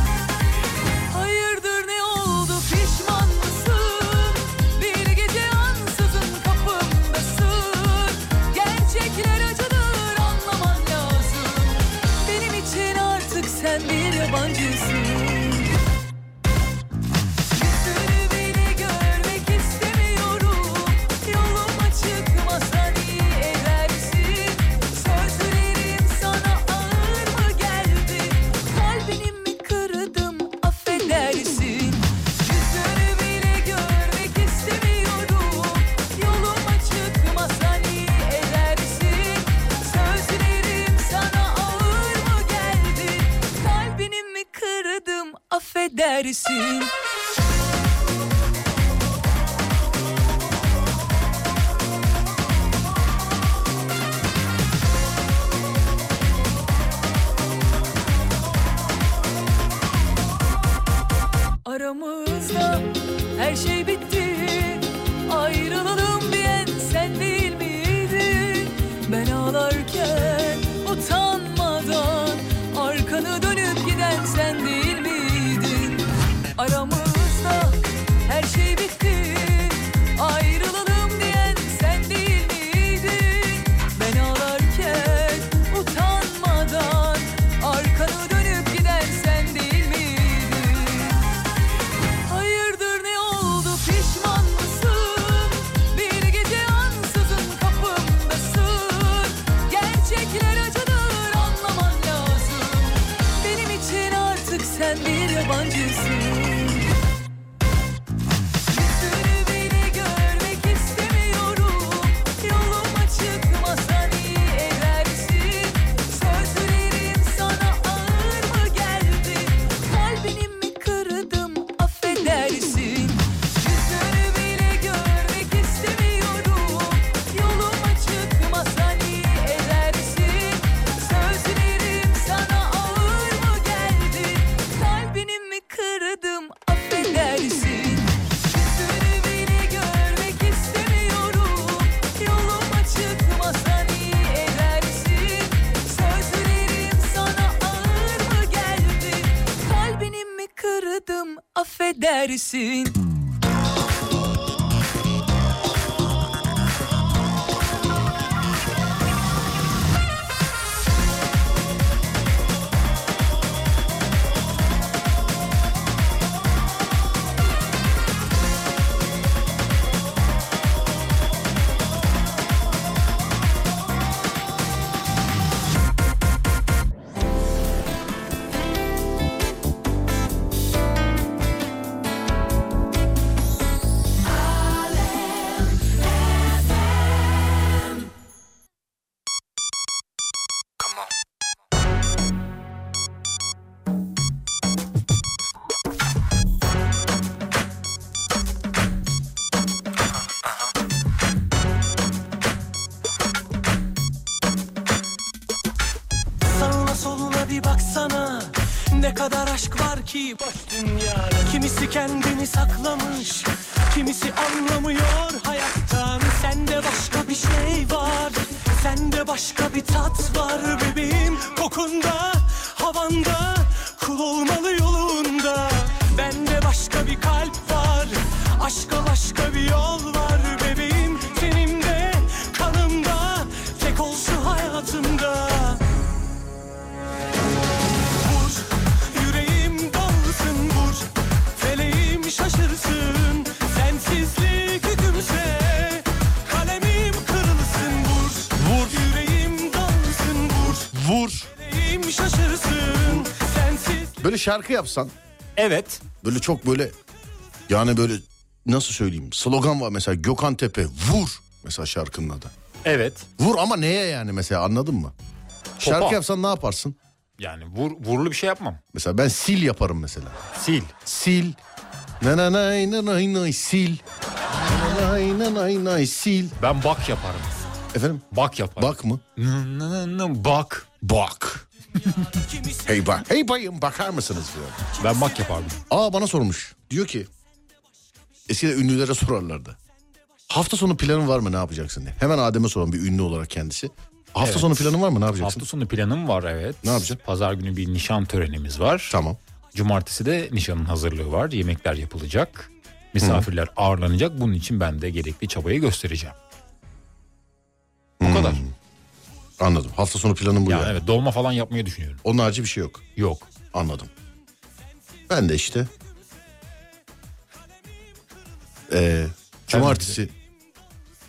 Hayırdır ne oldu pişman mısın? Bir gece ansızın kapımdasın. Gerçekler acıdır anlaman lazım. Benim için artık sen bir yabancısın. Yüzünü bile görmek istemiyorum. Yoluma çıkmasan iyi edersin. Sözlerin sana ağır mı geldi? Kalbini mi kırdım affedersin. Yüzünü bile görmek istemiyorum. Yoluma çıkmasan iyi edersin. Sözlerin sana ağır mı geldi? Kalbini mi kırdım affedersin. Aramızda her şey bitti Ayrılalım diyen sen değil miydin? Ben ağlarken utanmadan Arkanı dönüp giden sen değil miydin? Aramızda her şey bitti Ayrılalım diyen sen değil miydin? Ben ağlarken utanmadan Arkanı dönüp giden sen değil miydin? Hayırdır ne oldu pişman mısın? Bir gece ansızın kapımdasın. Gerçekler acıdır anlaman lazım. Benim için artık sen bir yabancısın. Yüzünü bile görmek istemiyorum. Yoluma çıkmasan iyi edersin. Sözlerin sana ağır mı geldi? Kalbini mi kırdım affedersin. Yüzünü bile görmek istemiyorum. Yoluma çıkmasan iyi edersin. Sözlerin sana ağır mı geldi? Kalbini mi kırdım affedersin. Yüzünü bile görmek istemiyorum. Yoluma çıkmasan iyi edersin. Sözlerin sana ağır mı geldi? Kalbini mi kırdım affedersin. Ne kadar aşk var ki boş dünyada Kimisi kendini saklamış Kimisi anlamıyor hayattan Sende başka bir şey var Sende başka bir tat var bebeğim Kokunda, havanda Kul olmalı yolunda Bende başka bir kalp var Aşka başka bir yol var bebeğim Tenimde, kanımda Tek ol şu hayatımda vur Yüreğim dalsın vur Feleğim şaşırsın Sensizlik hükümse Kalemim kırılsın vur Vur Yüreğim dalsın vur Vur. Feleğim şaşırsın Sensiz Böyle şarkı yapsan Evet. böyle çok böyle yani böyle nasıl söyleyeyim slogan var mesela Gökhan Tepe vur mesela şarkının adı. Evet. Vur ama neye yani mesela anladın mı? Şarkı Topa. yapsan ne yaparsın? Yani vur, vurulu bir şey yapmam. Mesela ben sil yaparım mesela. Sil. Sil. Na na nay na nay nay sil. Na na nay na nay nay sil. Ben bak yaparım. Efendim? Bak yaparım. Bak mı? Nı nı nı nı, Bak. Bak. hey bak. Hey bayım bakar mısınız diyor. Ben bak yapardım. Aa bana sormuş. Diyor ki eskiden ünlülere sorarlardı. Hafta sonu planın var mı ne yapacaksın diye. Hemen Adem'e soran bir ünlü olarak kendisi. Hafta Evet. sonu planın var mı ne yapacaksın? Hafta sonu planım var evet. Ne yapacaksın? Pazar günü bir nişan törenimiz var. Tamam. Cumartesi de nişanın hazırlığı var. Yemekler yapılacak. Misafirler ağırlanacak. Bunun için ben de gerekli çabayı göstereceğim. Bu kadar. Anladım. Hafta sonu planın Hmm, bu Yani yani. evet dolma falan yapmayı düşünüyorum. Onun harici bir şey yok. Yok. Anladım. Ben de işte eee, cumartesi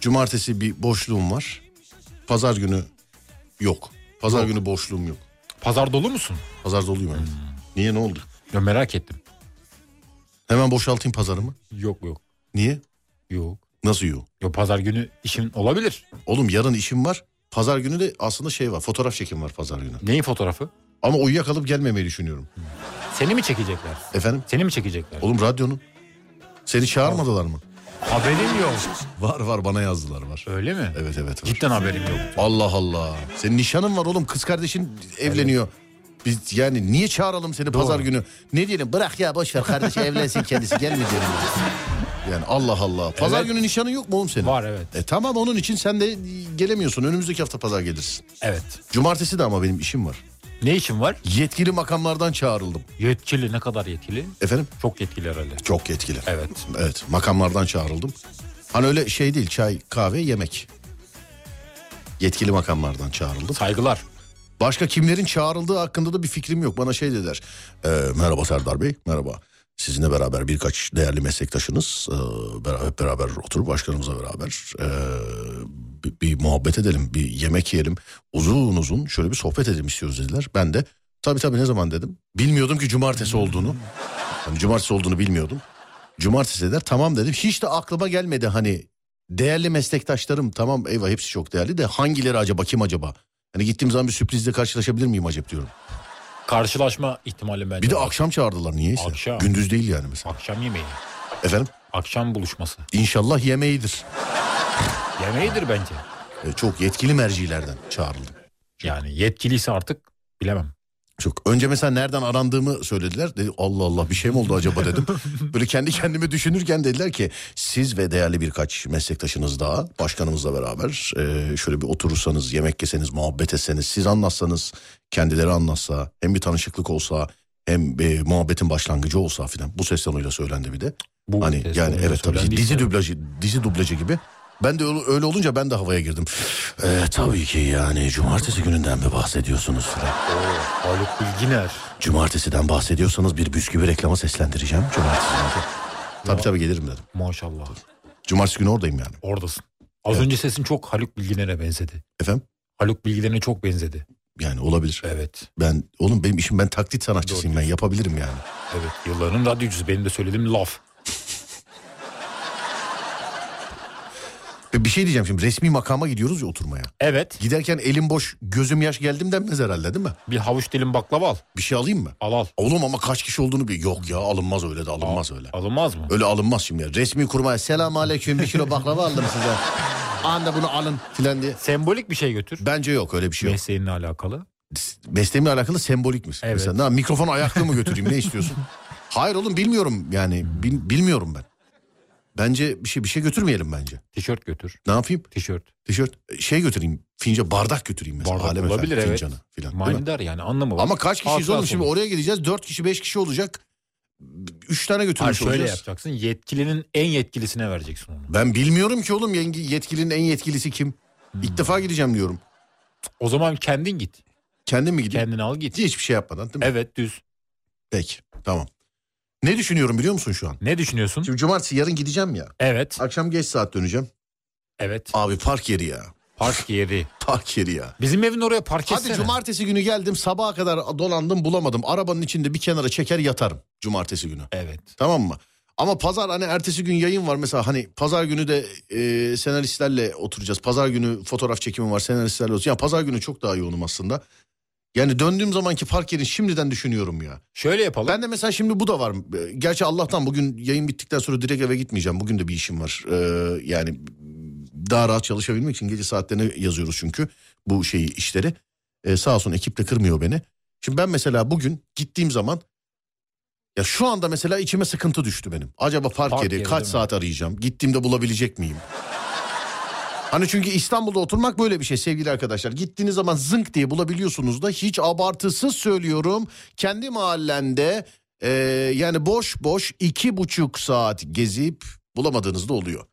cumartesi bir boşluğum var. Pazar günü yok. Pazar günü boşluğum yok. Pazar dolu musun? Pazar doluyum Hmm. evet. Niye ne oldu? Ya merak ettim. Hemen boşaltayım pazarımı. Yok yok. Niye? Yok. Nasıl yok? Yo pazar günü işim olabilir. Oğlum yarın işim var. Pazar günü de aslında şey var. Fotoğraf çekim var pazar günü. Neyin fotoğrafı? Ama uyuyakalıp gelmemeyi düşünüyorum. Seni mi çekecekler? Efendim? Seni mi çekecekler? Oğlum radyonun. Seni çağırmadılar mı? Haberim yok. Var var bana yazdılar var. Öyle mi? Evet evet var. Cidden haberim yok. Allah Allah. Senin nişanın var oğlum. Kız kardeşin evleniyor. Biz yani niye çağıralım seni pazar günü? Ne diyelim? Bırak ya boş ver kardeş evlensin kendisi gelme diyelim. Yani Allah Allah. Pazar Evet. günü nişanın yok mu oğlum senin? Var, evet. E tamam onun için sen de gelemiyorsun. Önümüzdeki hafta pazar gelirsin. Evet. Cumartesi de ama benim işim var. Ne için var? Yetkili makamlardan çağrıldım. Yetkili ne kadar yetkili? Efendim? Çok yetkili herhalde. Çok yetkili. Evet. Evet makamlardan çağrıldım. Hani öyle şey değil çay, kahve, yemek. Yetkili makamlardan çağrıldım. Saygılar. Başka kimlerin çağrıldığı hakkında da bir fikrim yok. Bana şey dediler. "Ee, merhaba Serdar Bey, merhaba. Sizinle beraber birkaç değerli meslektaşınız ee, beraber hep beraber oturup başkanımızla beraber ee, bir, bir muhabbet edelim, bir yemek yiyelim. Uzun uzun şöyle bir sohbet edelim istiyoruz dediler. Ben de tabii tabii ne zaman dedim. Bilmiyordum ki cumartesi olduğunu. Hani cumartesi olduğunu bilmiyordum. Cumartesi dediler tamam dedim. Hiç de aklıma gelmedi hani değerli meslektaşlarım tamam eyvah hepsi çok değerli de hangileri acaba kim acaba? Hani gittiğim zaman bir sürprizle karşılaşabilir miyim acaba diyorum. Karşılaşma ihtimali bence. Bir de var. akşam çağırdılar niyeyse. Akşam. Gündüz değil yani mesela. akşam yemeği. Efendim Akşam buluşması. inşallah yemeğidir. Yemeğidir bence. E, çok yetkili mercilerden çağrıldım. Yani yetkiliyse artık bilemem. Çok. Önce mesela nereden arandığımı söylediler. Dedi, Allah Allah bir şey mi oldu acaba dedim. Böyle kendi kendime düşünürken dediler ki siz ve değerli birkaç meslektaşınız daha başkanımızla beraber e, şöyle bir oturursanız yemek yeseniz muhabbet etseniz siz anlatsanız kendileri anlatsa hem bir tanışıklık olsa hem e, muhabbetin başlangıcı olsa filan bu ses tonuyla söylendi bir de. Bu hani ses yani tonuyla evet tabii ki söylendi dizi işte. dublajı dizi dublajı gibi. Ben de öyle, öyle olunca ben de havaya girdim. E, tabii ki yani cumartesi gününden mi bahsediyorsunuz filan. Haluk Bilginer. Cumartesiden bahsediyorsanız bir bisküvi reklama seslendireceğim. Cumartesi günü. Tabii tabii gelirim dedim. Maşallah. Cumartesi günü oradayım yani. Oradasın. Az önce sesin çok Haluk Bilginer'e benzedi. Efendim? Haluk Bilginer'e çok benzedi. Yani olabilir. Evet. Ben oğlum benim işim ben taklit sanatçısıyım ben yapabilirim yani. Evet. Yılların radyocusu. Benim de söylediğim laf. Ve bir şey diyeceğim şimdi resmi makama gidiyoruz ya oturmaya. Evet. Giderken elim boş gözüm yaş geldim denmez herhalde değil mi? Bir havuç dilim baklava al. Bir şey alayım mı? Al al. Oğlum ama kaç kişi olduğunu bir yok ya alınmaz öyle de alınmaz öyle. Alınmaz mı? Öyle alınmaz şimdi ya. Resmi kurmaya selam aleyküm bir kilo baklava aldım size. Anda bunu alın filan diye. Sembolik bir şey götür. Bence yok öyle bir şey yok. Mesleğinle alakalı. mesleğimle alakalı sembolik misin? Evet. Mesela, "Na, mikrofon ayakta mı götüreyim ne istiyorsun? Hayır oğlum bilmiyorum yani bil- bilmiyorum ben. Bence bir şey bir şey götürmeyelim bence. Tişört götür. Ne yapayım? Tişört. Tişört şey götüreyim. Finca bardak götüreyim mesela. Bardak Alem olabilir, Efendi evet. Fincanı filan. değil mi? Manidar yani anlamı var. Ama kaç kişiyiz Hatıra oğlum şimdi sonuç. oraya gideceğiz. 4 kişi 5 kişi olacak. 3 tane Ha, götürmüş şöyle olacağız. yapacaksın. Yetkilinin en yetkilisine vereceksin onu. Ben bilmiyorum ki oğlum yenge- yetkilinin en yetkilisi kim? İlk defa gideceğim diyorum. O zaman kendin git. Kendim mi gideyim? Kendini al git. Hiçbir şey yapmadan değil mi? Evet düz. Peki tamam. Ne düşünüyorum biliyor musun şu an? Ne düşünüyorsun? Şimdi cumartesi yarın gideceğim ya. Evet. Akşam geç saat döneceğim. Evet. Abi park yeri ya. Park yeri. Park yeri ya. Bizim evin oraya park Hadi etsene. cumartesi günü geldim sabaha kadar dolandım bulamadım. Arabanın içinde bir kenara çeker yatarım cumartesi günü. Evet. Tamam mı? Ama pazar hani ertesi gün yayın var mesela hani pazar günü de e, senaristlerle oturacağız. Pazar günü fotoğraf çekimi var senaristlerle oturacağız. Ya pazar günü çok daha yoğunum aslında. Yani döndüğüm zamanki park yerini şimdiden düşünüyorum ya. Şöyle yapalım. Ben de mesela şimdi bu da var. E, Gerçi Allah'tan bugün yayın bittikten sonra direkt eve gitmeyeceğim. Bugün de bir işim var. E, yani daha rahat çalışabilmek için gece saatlerine yazıyoruz çünkü bu şeyi işleri. E, sağ olsun ekip de kırmıyor beni. Şimdi ben mesela bugün gittiğim zaman ya şu anda mesela içime sıkıntı düştü benim. Acaba park, Park yeri, yeri kaç değil mi? saat arayacağım? Gittiğimde bulabilecek miyim? Hani çünkü İstanbul'da oturmak böyle bir şey sevgili arkadaşlar. Gittiğiniz zaman zınk diye bulabiliyorsunuz da hiç abartısız söylüyorum. Kendi mahallende e, yani boş boş iki buçuk saat gezip bulamadığınız da oluyor.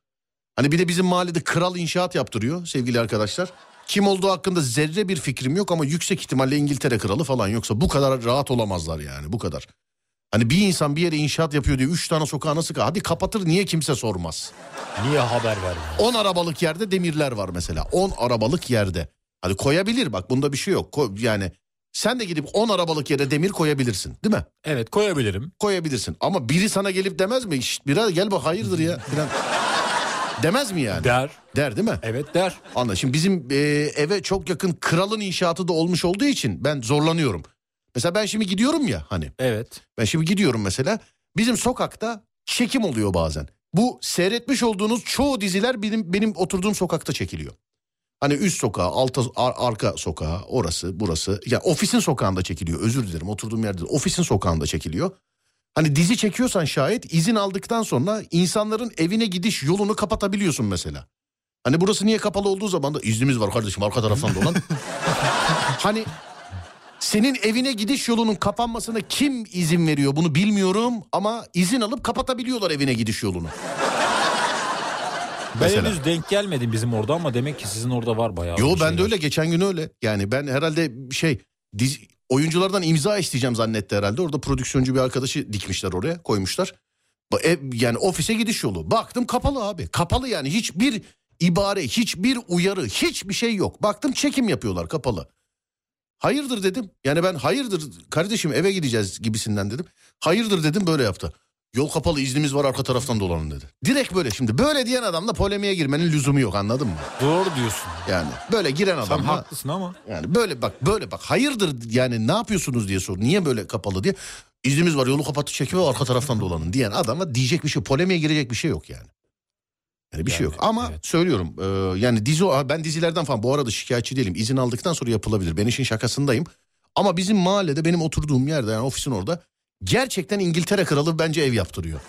Hani bir de bizim mahallede kral inşaat yaptırıyor sevgili arkadaşlar. Kim olduğu hakkında zerre bir fikrim yok ama yüksek ihtimalle İngiltere kralı falan yoksa bu kadar rahat olamazlar yani bu kadar. Hani bir insan bir yere inşaat yapıyor diye üç tane sokağa nasıl ka- hadi kapatır niye kimse sormaz. Niye haber vermiyorsun? 10 arabalık yerde demirler var mesela. 10 arabalık yerde. Hadi koyabilir bak bunda bir şey yok. Ko- yani sen de gidip 10 arabalık yere demir koyabilirsin değil mi? Evet koyabilirim. Koyabilirsin. Ama biri sana gelip demez mi? Şşt birader gel bak hayırdır ya. Falan. demez mi yani? Der. Der değil mi? Evet der. Anla şimdi bizim e, eve çok yakın kralın inşaatı da olmuş olduğu için ben zorlanıyorum. Mesela ben şimdi gidiyorum ya hani Evet. ben şimdi gidiyorum mesela. Bizim sokakta çekim oluyor bazen. Bu seyretmiş olduğunuz çoğu diziler benim benim oturduğum sokakta çekiliyor. Hani üst sokağa, alta, ar- arka sokağa, orası, burası. Ya ofisin sokağında çekiliyor. Özür dilerim oturduğum yerde. değil, Ofisin sokağında çekiliyor. Hani dizi çekiyorsan şayet izin aldıktan sonra insanların evine gidiş yolunu kapatabiliyorsun mesela. Hani burası niye kapalı olduğu zaman da iznimiz var kardeşim arka taraftan dolan. hani senin evine gidiş yolunun kapanmasına kim izin veriyor bunu bilmiyorum ama izin alıp kapatabiliyorlar evine gidiş yolunu. Ben Mesela. henüz denk gelmedim bizim orada ama demek ki sizin orada var bayağı. Yo ben bir de şeyler. öyle geçen gün öyle. Yani ben herhalde şey dizi, oyunculardan imza isteyeceğim zannetti herhalde. Orada prodüksiyoncu bir arkadaşı dikmişler oraya koymuşlar. Ba- ev- yani ofise gidiş yolu. Baktım kapalı abi. Kapalı yani hiçbir ibare, hiçbir uyarı, hiçbir şey yok. Baktım çekim yapıyorlar kapalı. Hayırdır dedim. Yani ben hayırdır kardeşim eve gideceğiz gibisinden dedim. Hayırdır dedim böyle yaptı. Yol kapalı iznimiz var arka taraftan dolanın dedi. Direkt böyle şimdi böyle diyen adamla polemiğe girmenin lüzumu yok anladın mı? Doğru diyorsun. Yani böyle giren Sen adamla haklısın ama. yani böyle bak böyle bak hayırdır yani ne yapıyorsunuz diye sor. Niye böyle kapalı diye. İznimiz var yolu kapattı çekme arka taraftan dolanın diyen adama diyecek bir şey polemiğe girecek bir şey yok yani. Yani bir şey Yani, yok ama evet. söylüyorum e, yani dizi Aa, ben dizilerden falan bu arada şikayetçi değilim. İzin aldıktan sonra yapılabilir. Ben işin şakasındayım. Ama bizim mahallede benim oturduğum yerde yani ofisin orada gerçekten İngiltere kralı bence ev yaptırıyor.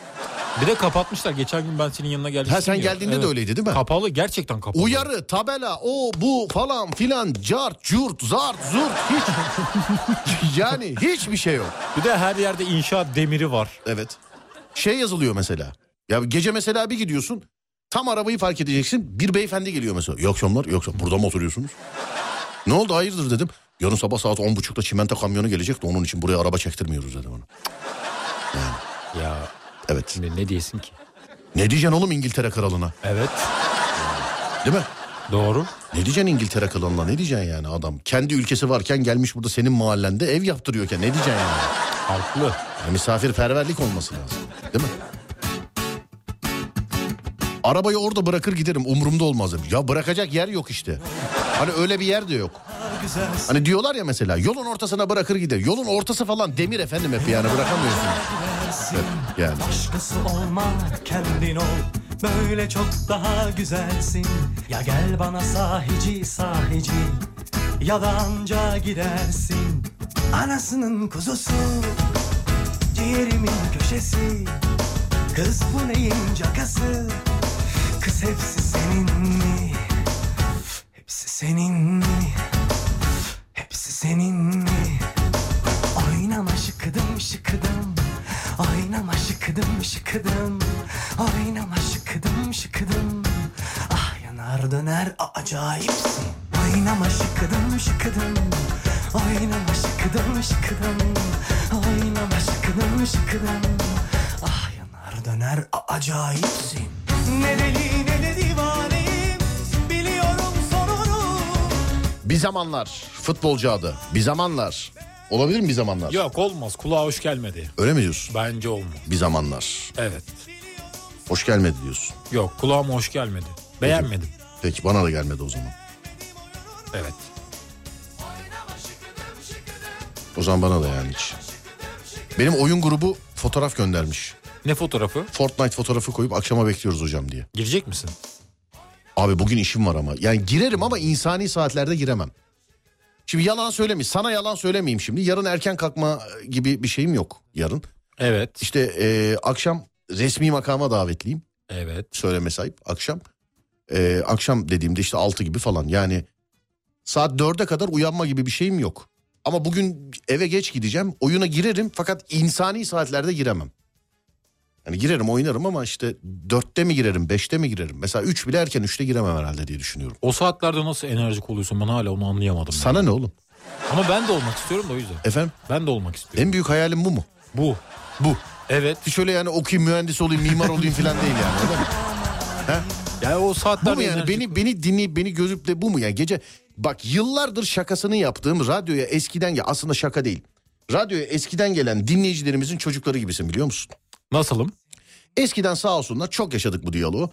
Bir de kapatmışlar. Geçen gün ben senin yanına geldim. Ha sen geldiğinde de öyleydi değil mi? Kapalı gerçekten kapalı. Uyarı, tabela, o bu falan filan, cart, curt, zart, zurt hiç. yani hiçbir şey yok. Bir de her yerde inşaat demiri var. Evet. Şey yazılıyor mesela. Ya gece mesela bir gidiyorsun. Tam arabayı fark edeceksin. Bir beyefendi geliyor mesela. İyi akşamlar. iyi akşamlar. Burada mı oturuyorsunuz? ne oldu hayırdır dedim. Yarın sabah saat on buçukta çimento kamyonu gelecek de onun için buraya araba çektirmiyoruz dedim ona. Ya Evet. şimdi ne diyesin ki? Ne diyeceksin oğlum İngiltere kralına? Evet. Değil mi? Doğru. Ne diyeceksin İngiltere kralına? Ne diyeceksin yani adam? Kendi ülkesi varken gelmiş burada senin mahallende ev yaptırıyorken ne diyeceksin yani? Haklı. Yani misafirperverlik olması lazım. Değil mi? Arabayı orada bırakır giderim umurumda olmaz. demiş. Ya bırakacak yer yok işte. Hani öyle bir yer de yok. Hani diyorlar ya mesela yolun ortasına bırakır gider. Yolun ortası falan demir efendim hep yani bırakamıyorsun. Evet, yani. Başkası olma kendin ol Böyle çok daha güzelsin Ya gel bana sahici sahici Yalanca girersin Anasının kuzusu Ciğerimin köşesi Kız bu neyin cakası Kız hepsi senin mi Hepsi senin mi Hepsi senin mi Oynama şıkıdım şıkıdım Oynama şıkıdım şıkıdım Oynama şıkıdım şıkıdım Ah yanar döner a- acayipsin Oynama şıkıdım şıkıdım Oynama şıkıdım şıkıdım Oynama şıkıdım şıkıdım Ah yanar döner a- acayipsin Ne e deli ne de divaneyim Biliyorum sonunu Bir zamanlar futbolcu adı. Bir zamanlar. Olabilir mi bir zamanlar? Yok olmaz kulağa hoş gelmedi. Öyle mi diyorsun? Bence olmaz. Bir zamanlar. Evet. Hoş gelmedi diyorsun. Yok kulağıma hoş gelmedi. Beğenmedim. Peki bana da gelmedi o zaman. Evet. O zaman bana da yani hiç. Benim oyun grubu fotoğraf göndermiş. Ne fotoğrafı? Fortnite fotoğrafı koyup akşama bekliyoruz hocam diye. Girecek misin? Abi bugün işim var ama. Yani girerim ama insani saatlerde giremem. Şimdi yalan söylemeyeyim. Sana yalan söylemeyeyim şimdi. Yarın erken kalkma gibi bir şeyim yok yarın. Evet. İşte eee, akşam resmi makama davetliyim. Evet. Söyleme sahip akşam. Eee, akşam dediğimde işte 6 gibi falan. Yani saat 4'e kadar uyanma gibi bir şeyim yok. Ama bugün eve geç gideceğim. Oyuna girerim fakat insani saatlerde giremem. Yani girerim oynarım ama işte 4'te mi girerim 5'te mi girerim? Mesela 3 bile erken 3'te giremem herhalde diye düşünüyorum. O saatlerde nasıl enerjik oluyorsun ben hala onu anlayamadım. ben. Sana ne oğlum? Ama ben de olmak istiyorum da o yüzden. Efendim Ben de olmak istiyorum. en büyük hayalim E, bu mu? Bu. Bu. Evet. Hiç öyle yani okuyayım mühendis olayım mimar olayım falan değil yani. öyle mi? Yani o Bu saatlerde mu yani enerjik- beni beni dinleyip beni gözüp de bu mu yani gece bak yıllardır şakasını yaptığım radyoya eskiden ya aslında şaka değil. Radyoya eskiden gelen dinleyicilerimizin çocukları gibisin biliyor musun? Nasılım? Eskiden sağ olsunlar çok yaşadık bu diyaloğu.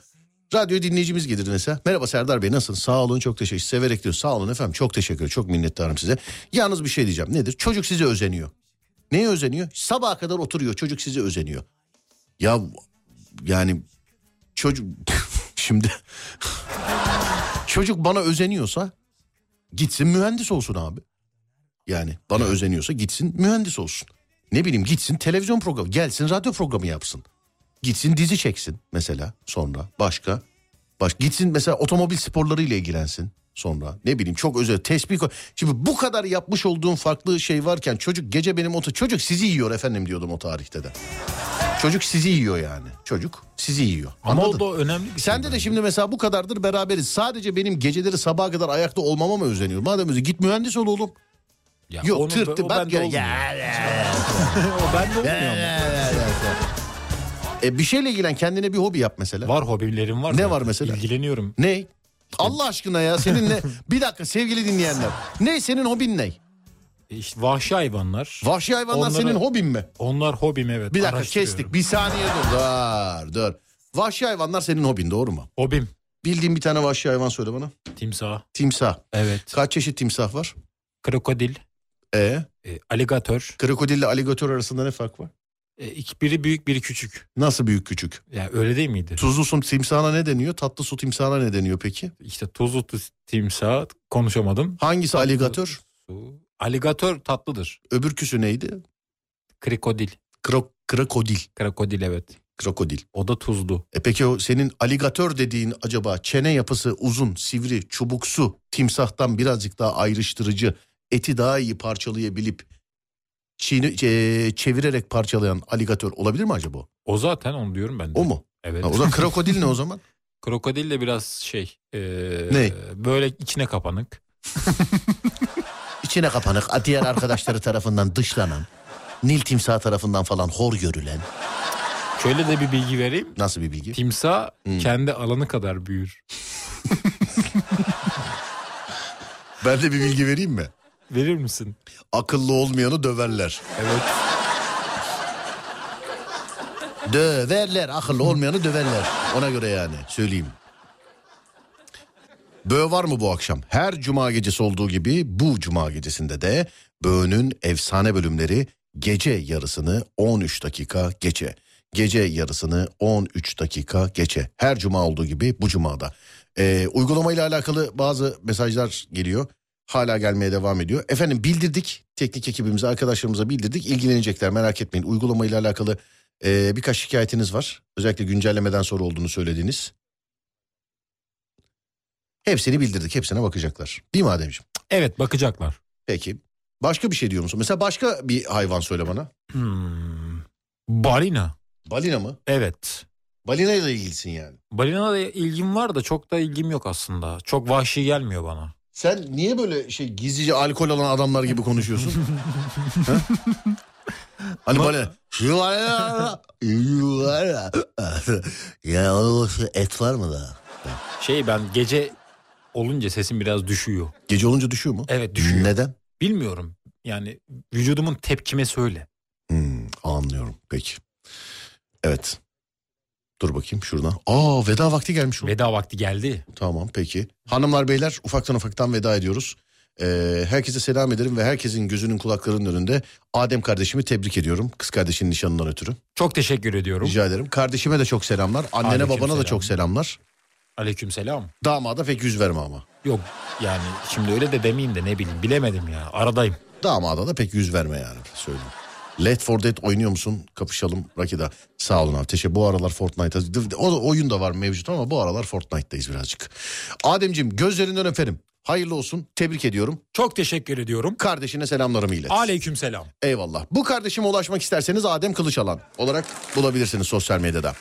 Radyo dinleyicimiz gelirdi mesela. Merhaba Serdar Bey nasılsın? Sağ olun çok teşekkür Severek diyor. Sağ olun efendim çok teşekkür Çok minnettarım size. Yalnız bir şey diyeceğim. Nedir? Çocuk size özeniyor. Neye özeniyor? Sabaha kadar oturuyor. Çocuk size özeniyor. Ya yani çocuk şimdi çocuk bana özeniyorsa gitsin mühendis olsun abi. Yani bana özeniyorsa gitsin mühendis olsun. Ne bileyim gitsin televizyon programı gelsin radyo programı yapsın. Gitsin dizi çeksin mesela sonra başka. Baş, gitsin mesela otomobil sporlarıyla ilgilensin sonra. Ne bileyim çok özel tespih. koy- Şimdi bu kadar yapmış olduğum farklı şey varken çocuk gece benim oto çocuk sizi yiyor efendim diyordum o tarihte de. Çocuk sizi yiyor yani. Çocuk sizi yiyor. Ama Anladın? o da önemli bir şey. Sende de şimdi mesela bu kadardır beraberiz. Sadece benim geceleri sabaha kadar ayakta olmama mı özeniyor? Madem öyle git mühendis ol oğlum. Ya Yok onu- tırttı o bak bende gel. olmuyor. Ya, O bende olmuyor ama. E, bir şeyle ilgilen kendine bir hobi yap mesela. Var hobilerim var. Ne zaten. var mesela? İlgileniyorum. Ne? Allah aşkına ya senin ne? bir dakika sevgili dinleyenler. Ne senin hobin ne? E İşte vahşi hayvanlar. Vahşi hayvanlar Onları- senin hobin mi? Onlar hobim evet. Bir dakika Araştırıyorum. kestik. Bir saniye dur. Dur dur. Vahşi hayvanlar senin hobin doğru mu? Hobim. Bildiğin bir tane vahşi hayvan söyle bana. Timsah. Timsah. Evet. Kaç çeşit timsah var? Krokodil. E, e, aligatör. krokodil ile aligatör arasında ne fark var? E, iki- biri büyük biri küçük. Nasıl büyük küçük? Ya öyle değil miydi? Tuzlu su timsahına ne deniyor? Tatlı su timsahına ne deniyor peki? İşte tuzlu tu- timsah konuşamadım. Hangisi aligatör? Su. Aligatör tatlıdır. Öbürküsü neydi? Krokodil. Kro- krokodil. Krokodil evet. Krokodil. O da tuzlu. E peki o senin aligatör dediğin acaba çene yapısı uzun, sivri, çubuksu, timsahtan birazcık daha ayrıştırıcı, eti daha iyi parçalayabilip çiğne, çe- çevirerek parçalayan aligatör olabilir mi acaba? o? O zaten onu diyorum ben de. O mu? Evet. Ha, o zaman krokodil ne o zaman? Krokodil de biraz şey. eee, Ne? Böyle içine kapanık. İçine kapanık, diğer arkadaşları tarafından dışlanan, Nil timsahı tarafından falan hor görülen. Şöyle de bir bilgi vereyim. Nasıl bir bilgi? Timsah Hmm. kendi alanı kadar büyür. Ben de bir bilgi vereyim mi? Verir misin? Akıllı olmayanı döverler. Evet. Döverler. Akıllı olmayanı döverler. Ona göre yani söyleyeyim. Böğ var mı bu akşam? Her cuma gecesi olduğu gibi bu cuma gecesinde de Böğ'ün efsane bölümleri gece yarısını 13 dakika geçe. Gece yarısını 13 dakika geçe. Her cuma olduğu gibi bu cumada. Ee, uygulamayla alakalı bazı mesajlar geliyor. hala gelmeye devam ediyor. Efendim bildirdik teknik ekibimize arkadaşlarımıza bildirdik ilgilenecekler merak etmeyin uygulamayla alakalı e, birkaç şikayetiniz var. Özellikle güncellemeden sonra olduğunu söylediğiniz. Hepsini bildirdik hepsine bakacaklar değil mi Ademciğim? Evet bakacaklar. Peki başka bir şey diyor musun? Mesela başka bir hayvan söyle bana. Hmm. Balina. Balina mı? Evet. Balina ile ilgilisin yani. Balina da ilgim var da çok da ilgim yok aslında. Çok vahşi gelmiyor bana. Sen niye böyle şey gizlice alkol alan adamlar gibi konuşuyorsun? Ha? hani böyle ya o et var mı da? Şey ben gece olunca sesim biraz düşüyor. Gece olunca düşüyor mu? Evet düşüyor. Neden? Bilmiyorum. Yani vücudumun tepkimesi öyle. Hmm, anlıyorum. Peki. Evet. Dur bakayım şuradan. Aa veda vakti gelmiş. o. Veda vakti geldi. Tamam peki. Hanımlar beyler ufaktan ufaktan veda ediyoruz. Ee, herkese selam ederim ve herkesin gözünün kulaklarının önünde Adem kardeşimi tebrik ediyorum. Kız kardeşinin nişanından ötürü. Çok teşekkür ediyorum. Rica ederim. Kardeşime de çok selamlar. Annene Aleyküm babana da selam. çok selamlar. Aleykümselam. Damada pek yüz verme ama. Yok yani şimdi öyle de demeyeyim de ne bileyim bilemedim ya. Aradayım. Damada da pek yüz verme yani söyleyeyim. Let for Dead oynuyor musun? Kapışalım Rakida. Sağ olun abi. Teşekkür. Bu aralar Fortnite'a... O da oyun da var mevcut ama bu aralar Fortnite'dayız birazcık. Ademciğim gözlerinden öperim. Hayırlı olsun. Tebrik ediyorum. Çok teşekkür ediyorum. Kardeşine selamlarımı ilet. Aleykümselam. Eyvallah. Bu kardeşime ulaşmak isterseniz Adem Kılıçalan olarak bulabilirsiniz sosyal medyada.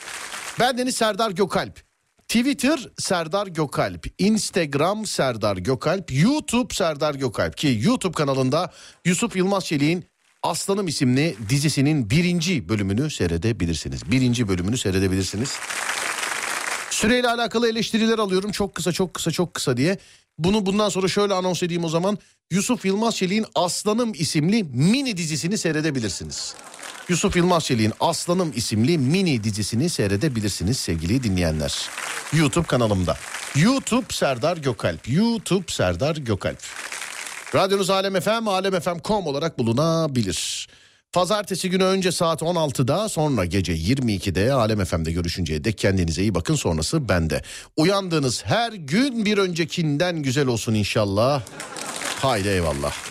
Ben Deniz Serdar Gökalp. Twitter Serdar Gökalp, Instagram Serdar Gökalp, YouTube Serdar Gökalp ki YouTube kanalında Yusuf Yılmaz Çelik'in Aslanım isimli dizisinin birinci bölümünü seyredebilirsiniz. Birinci bölümünü seyredebilirsiniz. Süreyle alakalı eleştiriler alıyorum. Çok kısa çok kısa çok kısa diye. Bunu bundan sonra şöyle anons edeyim o zaman. Yusuf Yılmaz Çelik'in Aslanım isimli mini dizisini seyredebilirsiniz. Yusuf Yılmaz Çelik'in Aslanım isimli mini dizisini seyredebilirsiniz sevgili dinleyenler. YouTube kanalımda. YouTube Serdar Gökalp. YouTube Serdar Gökalp. Radyonuz Alem FM, alemfm.com olarak bulunabilir. Pazartesi günü önce saat 16'da sonra gece 22'de Alem FM'de görüşünceye dek kendinize iyi bakın sonrası bende. Uyandığınız her gün bir öncekinden güzel olsun inşallah. Haydi eyvallah.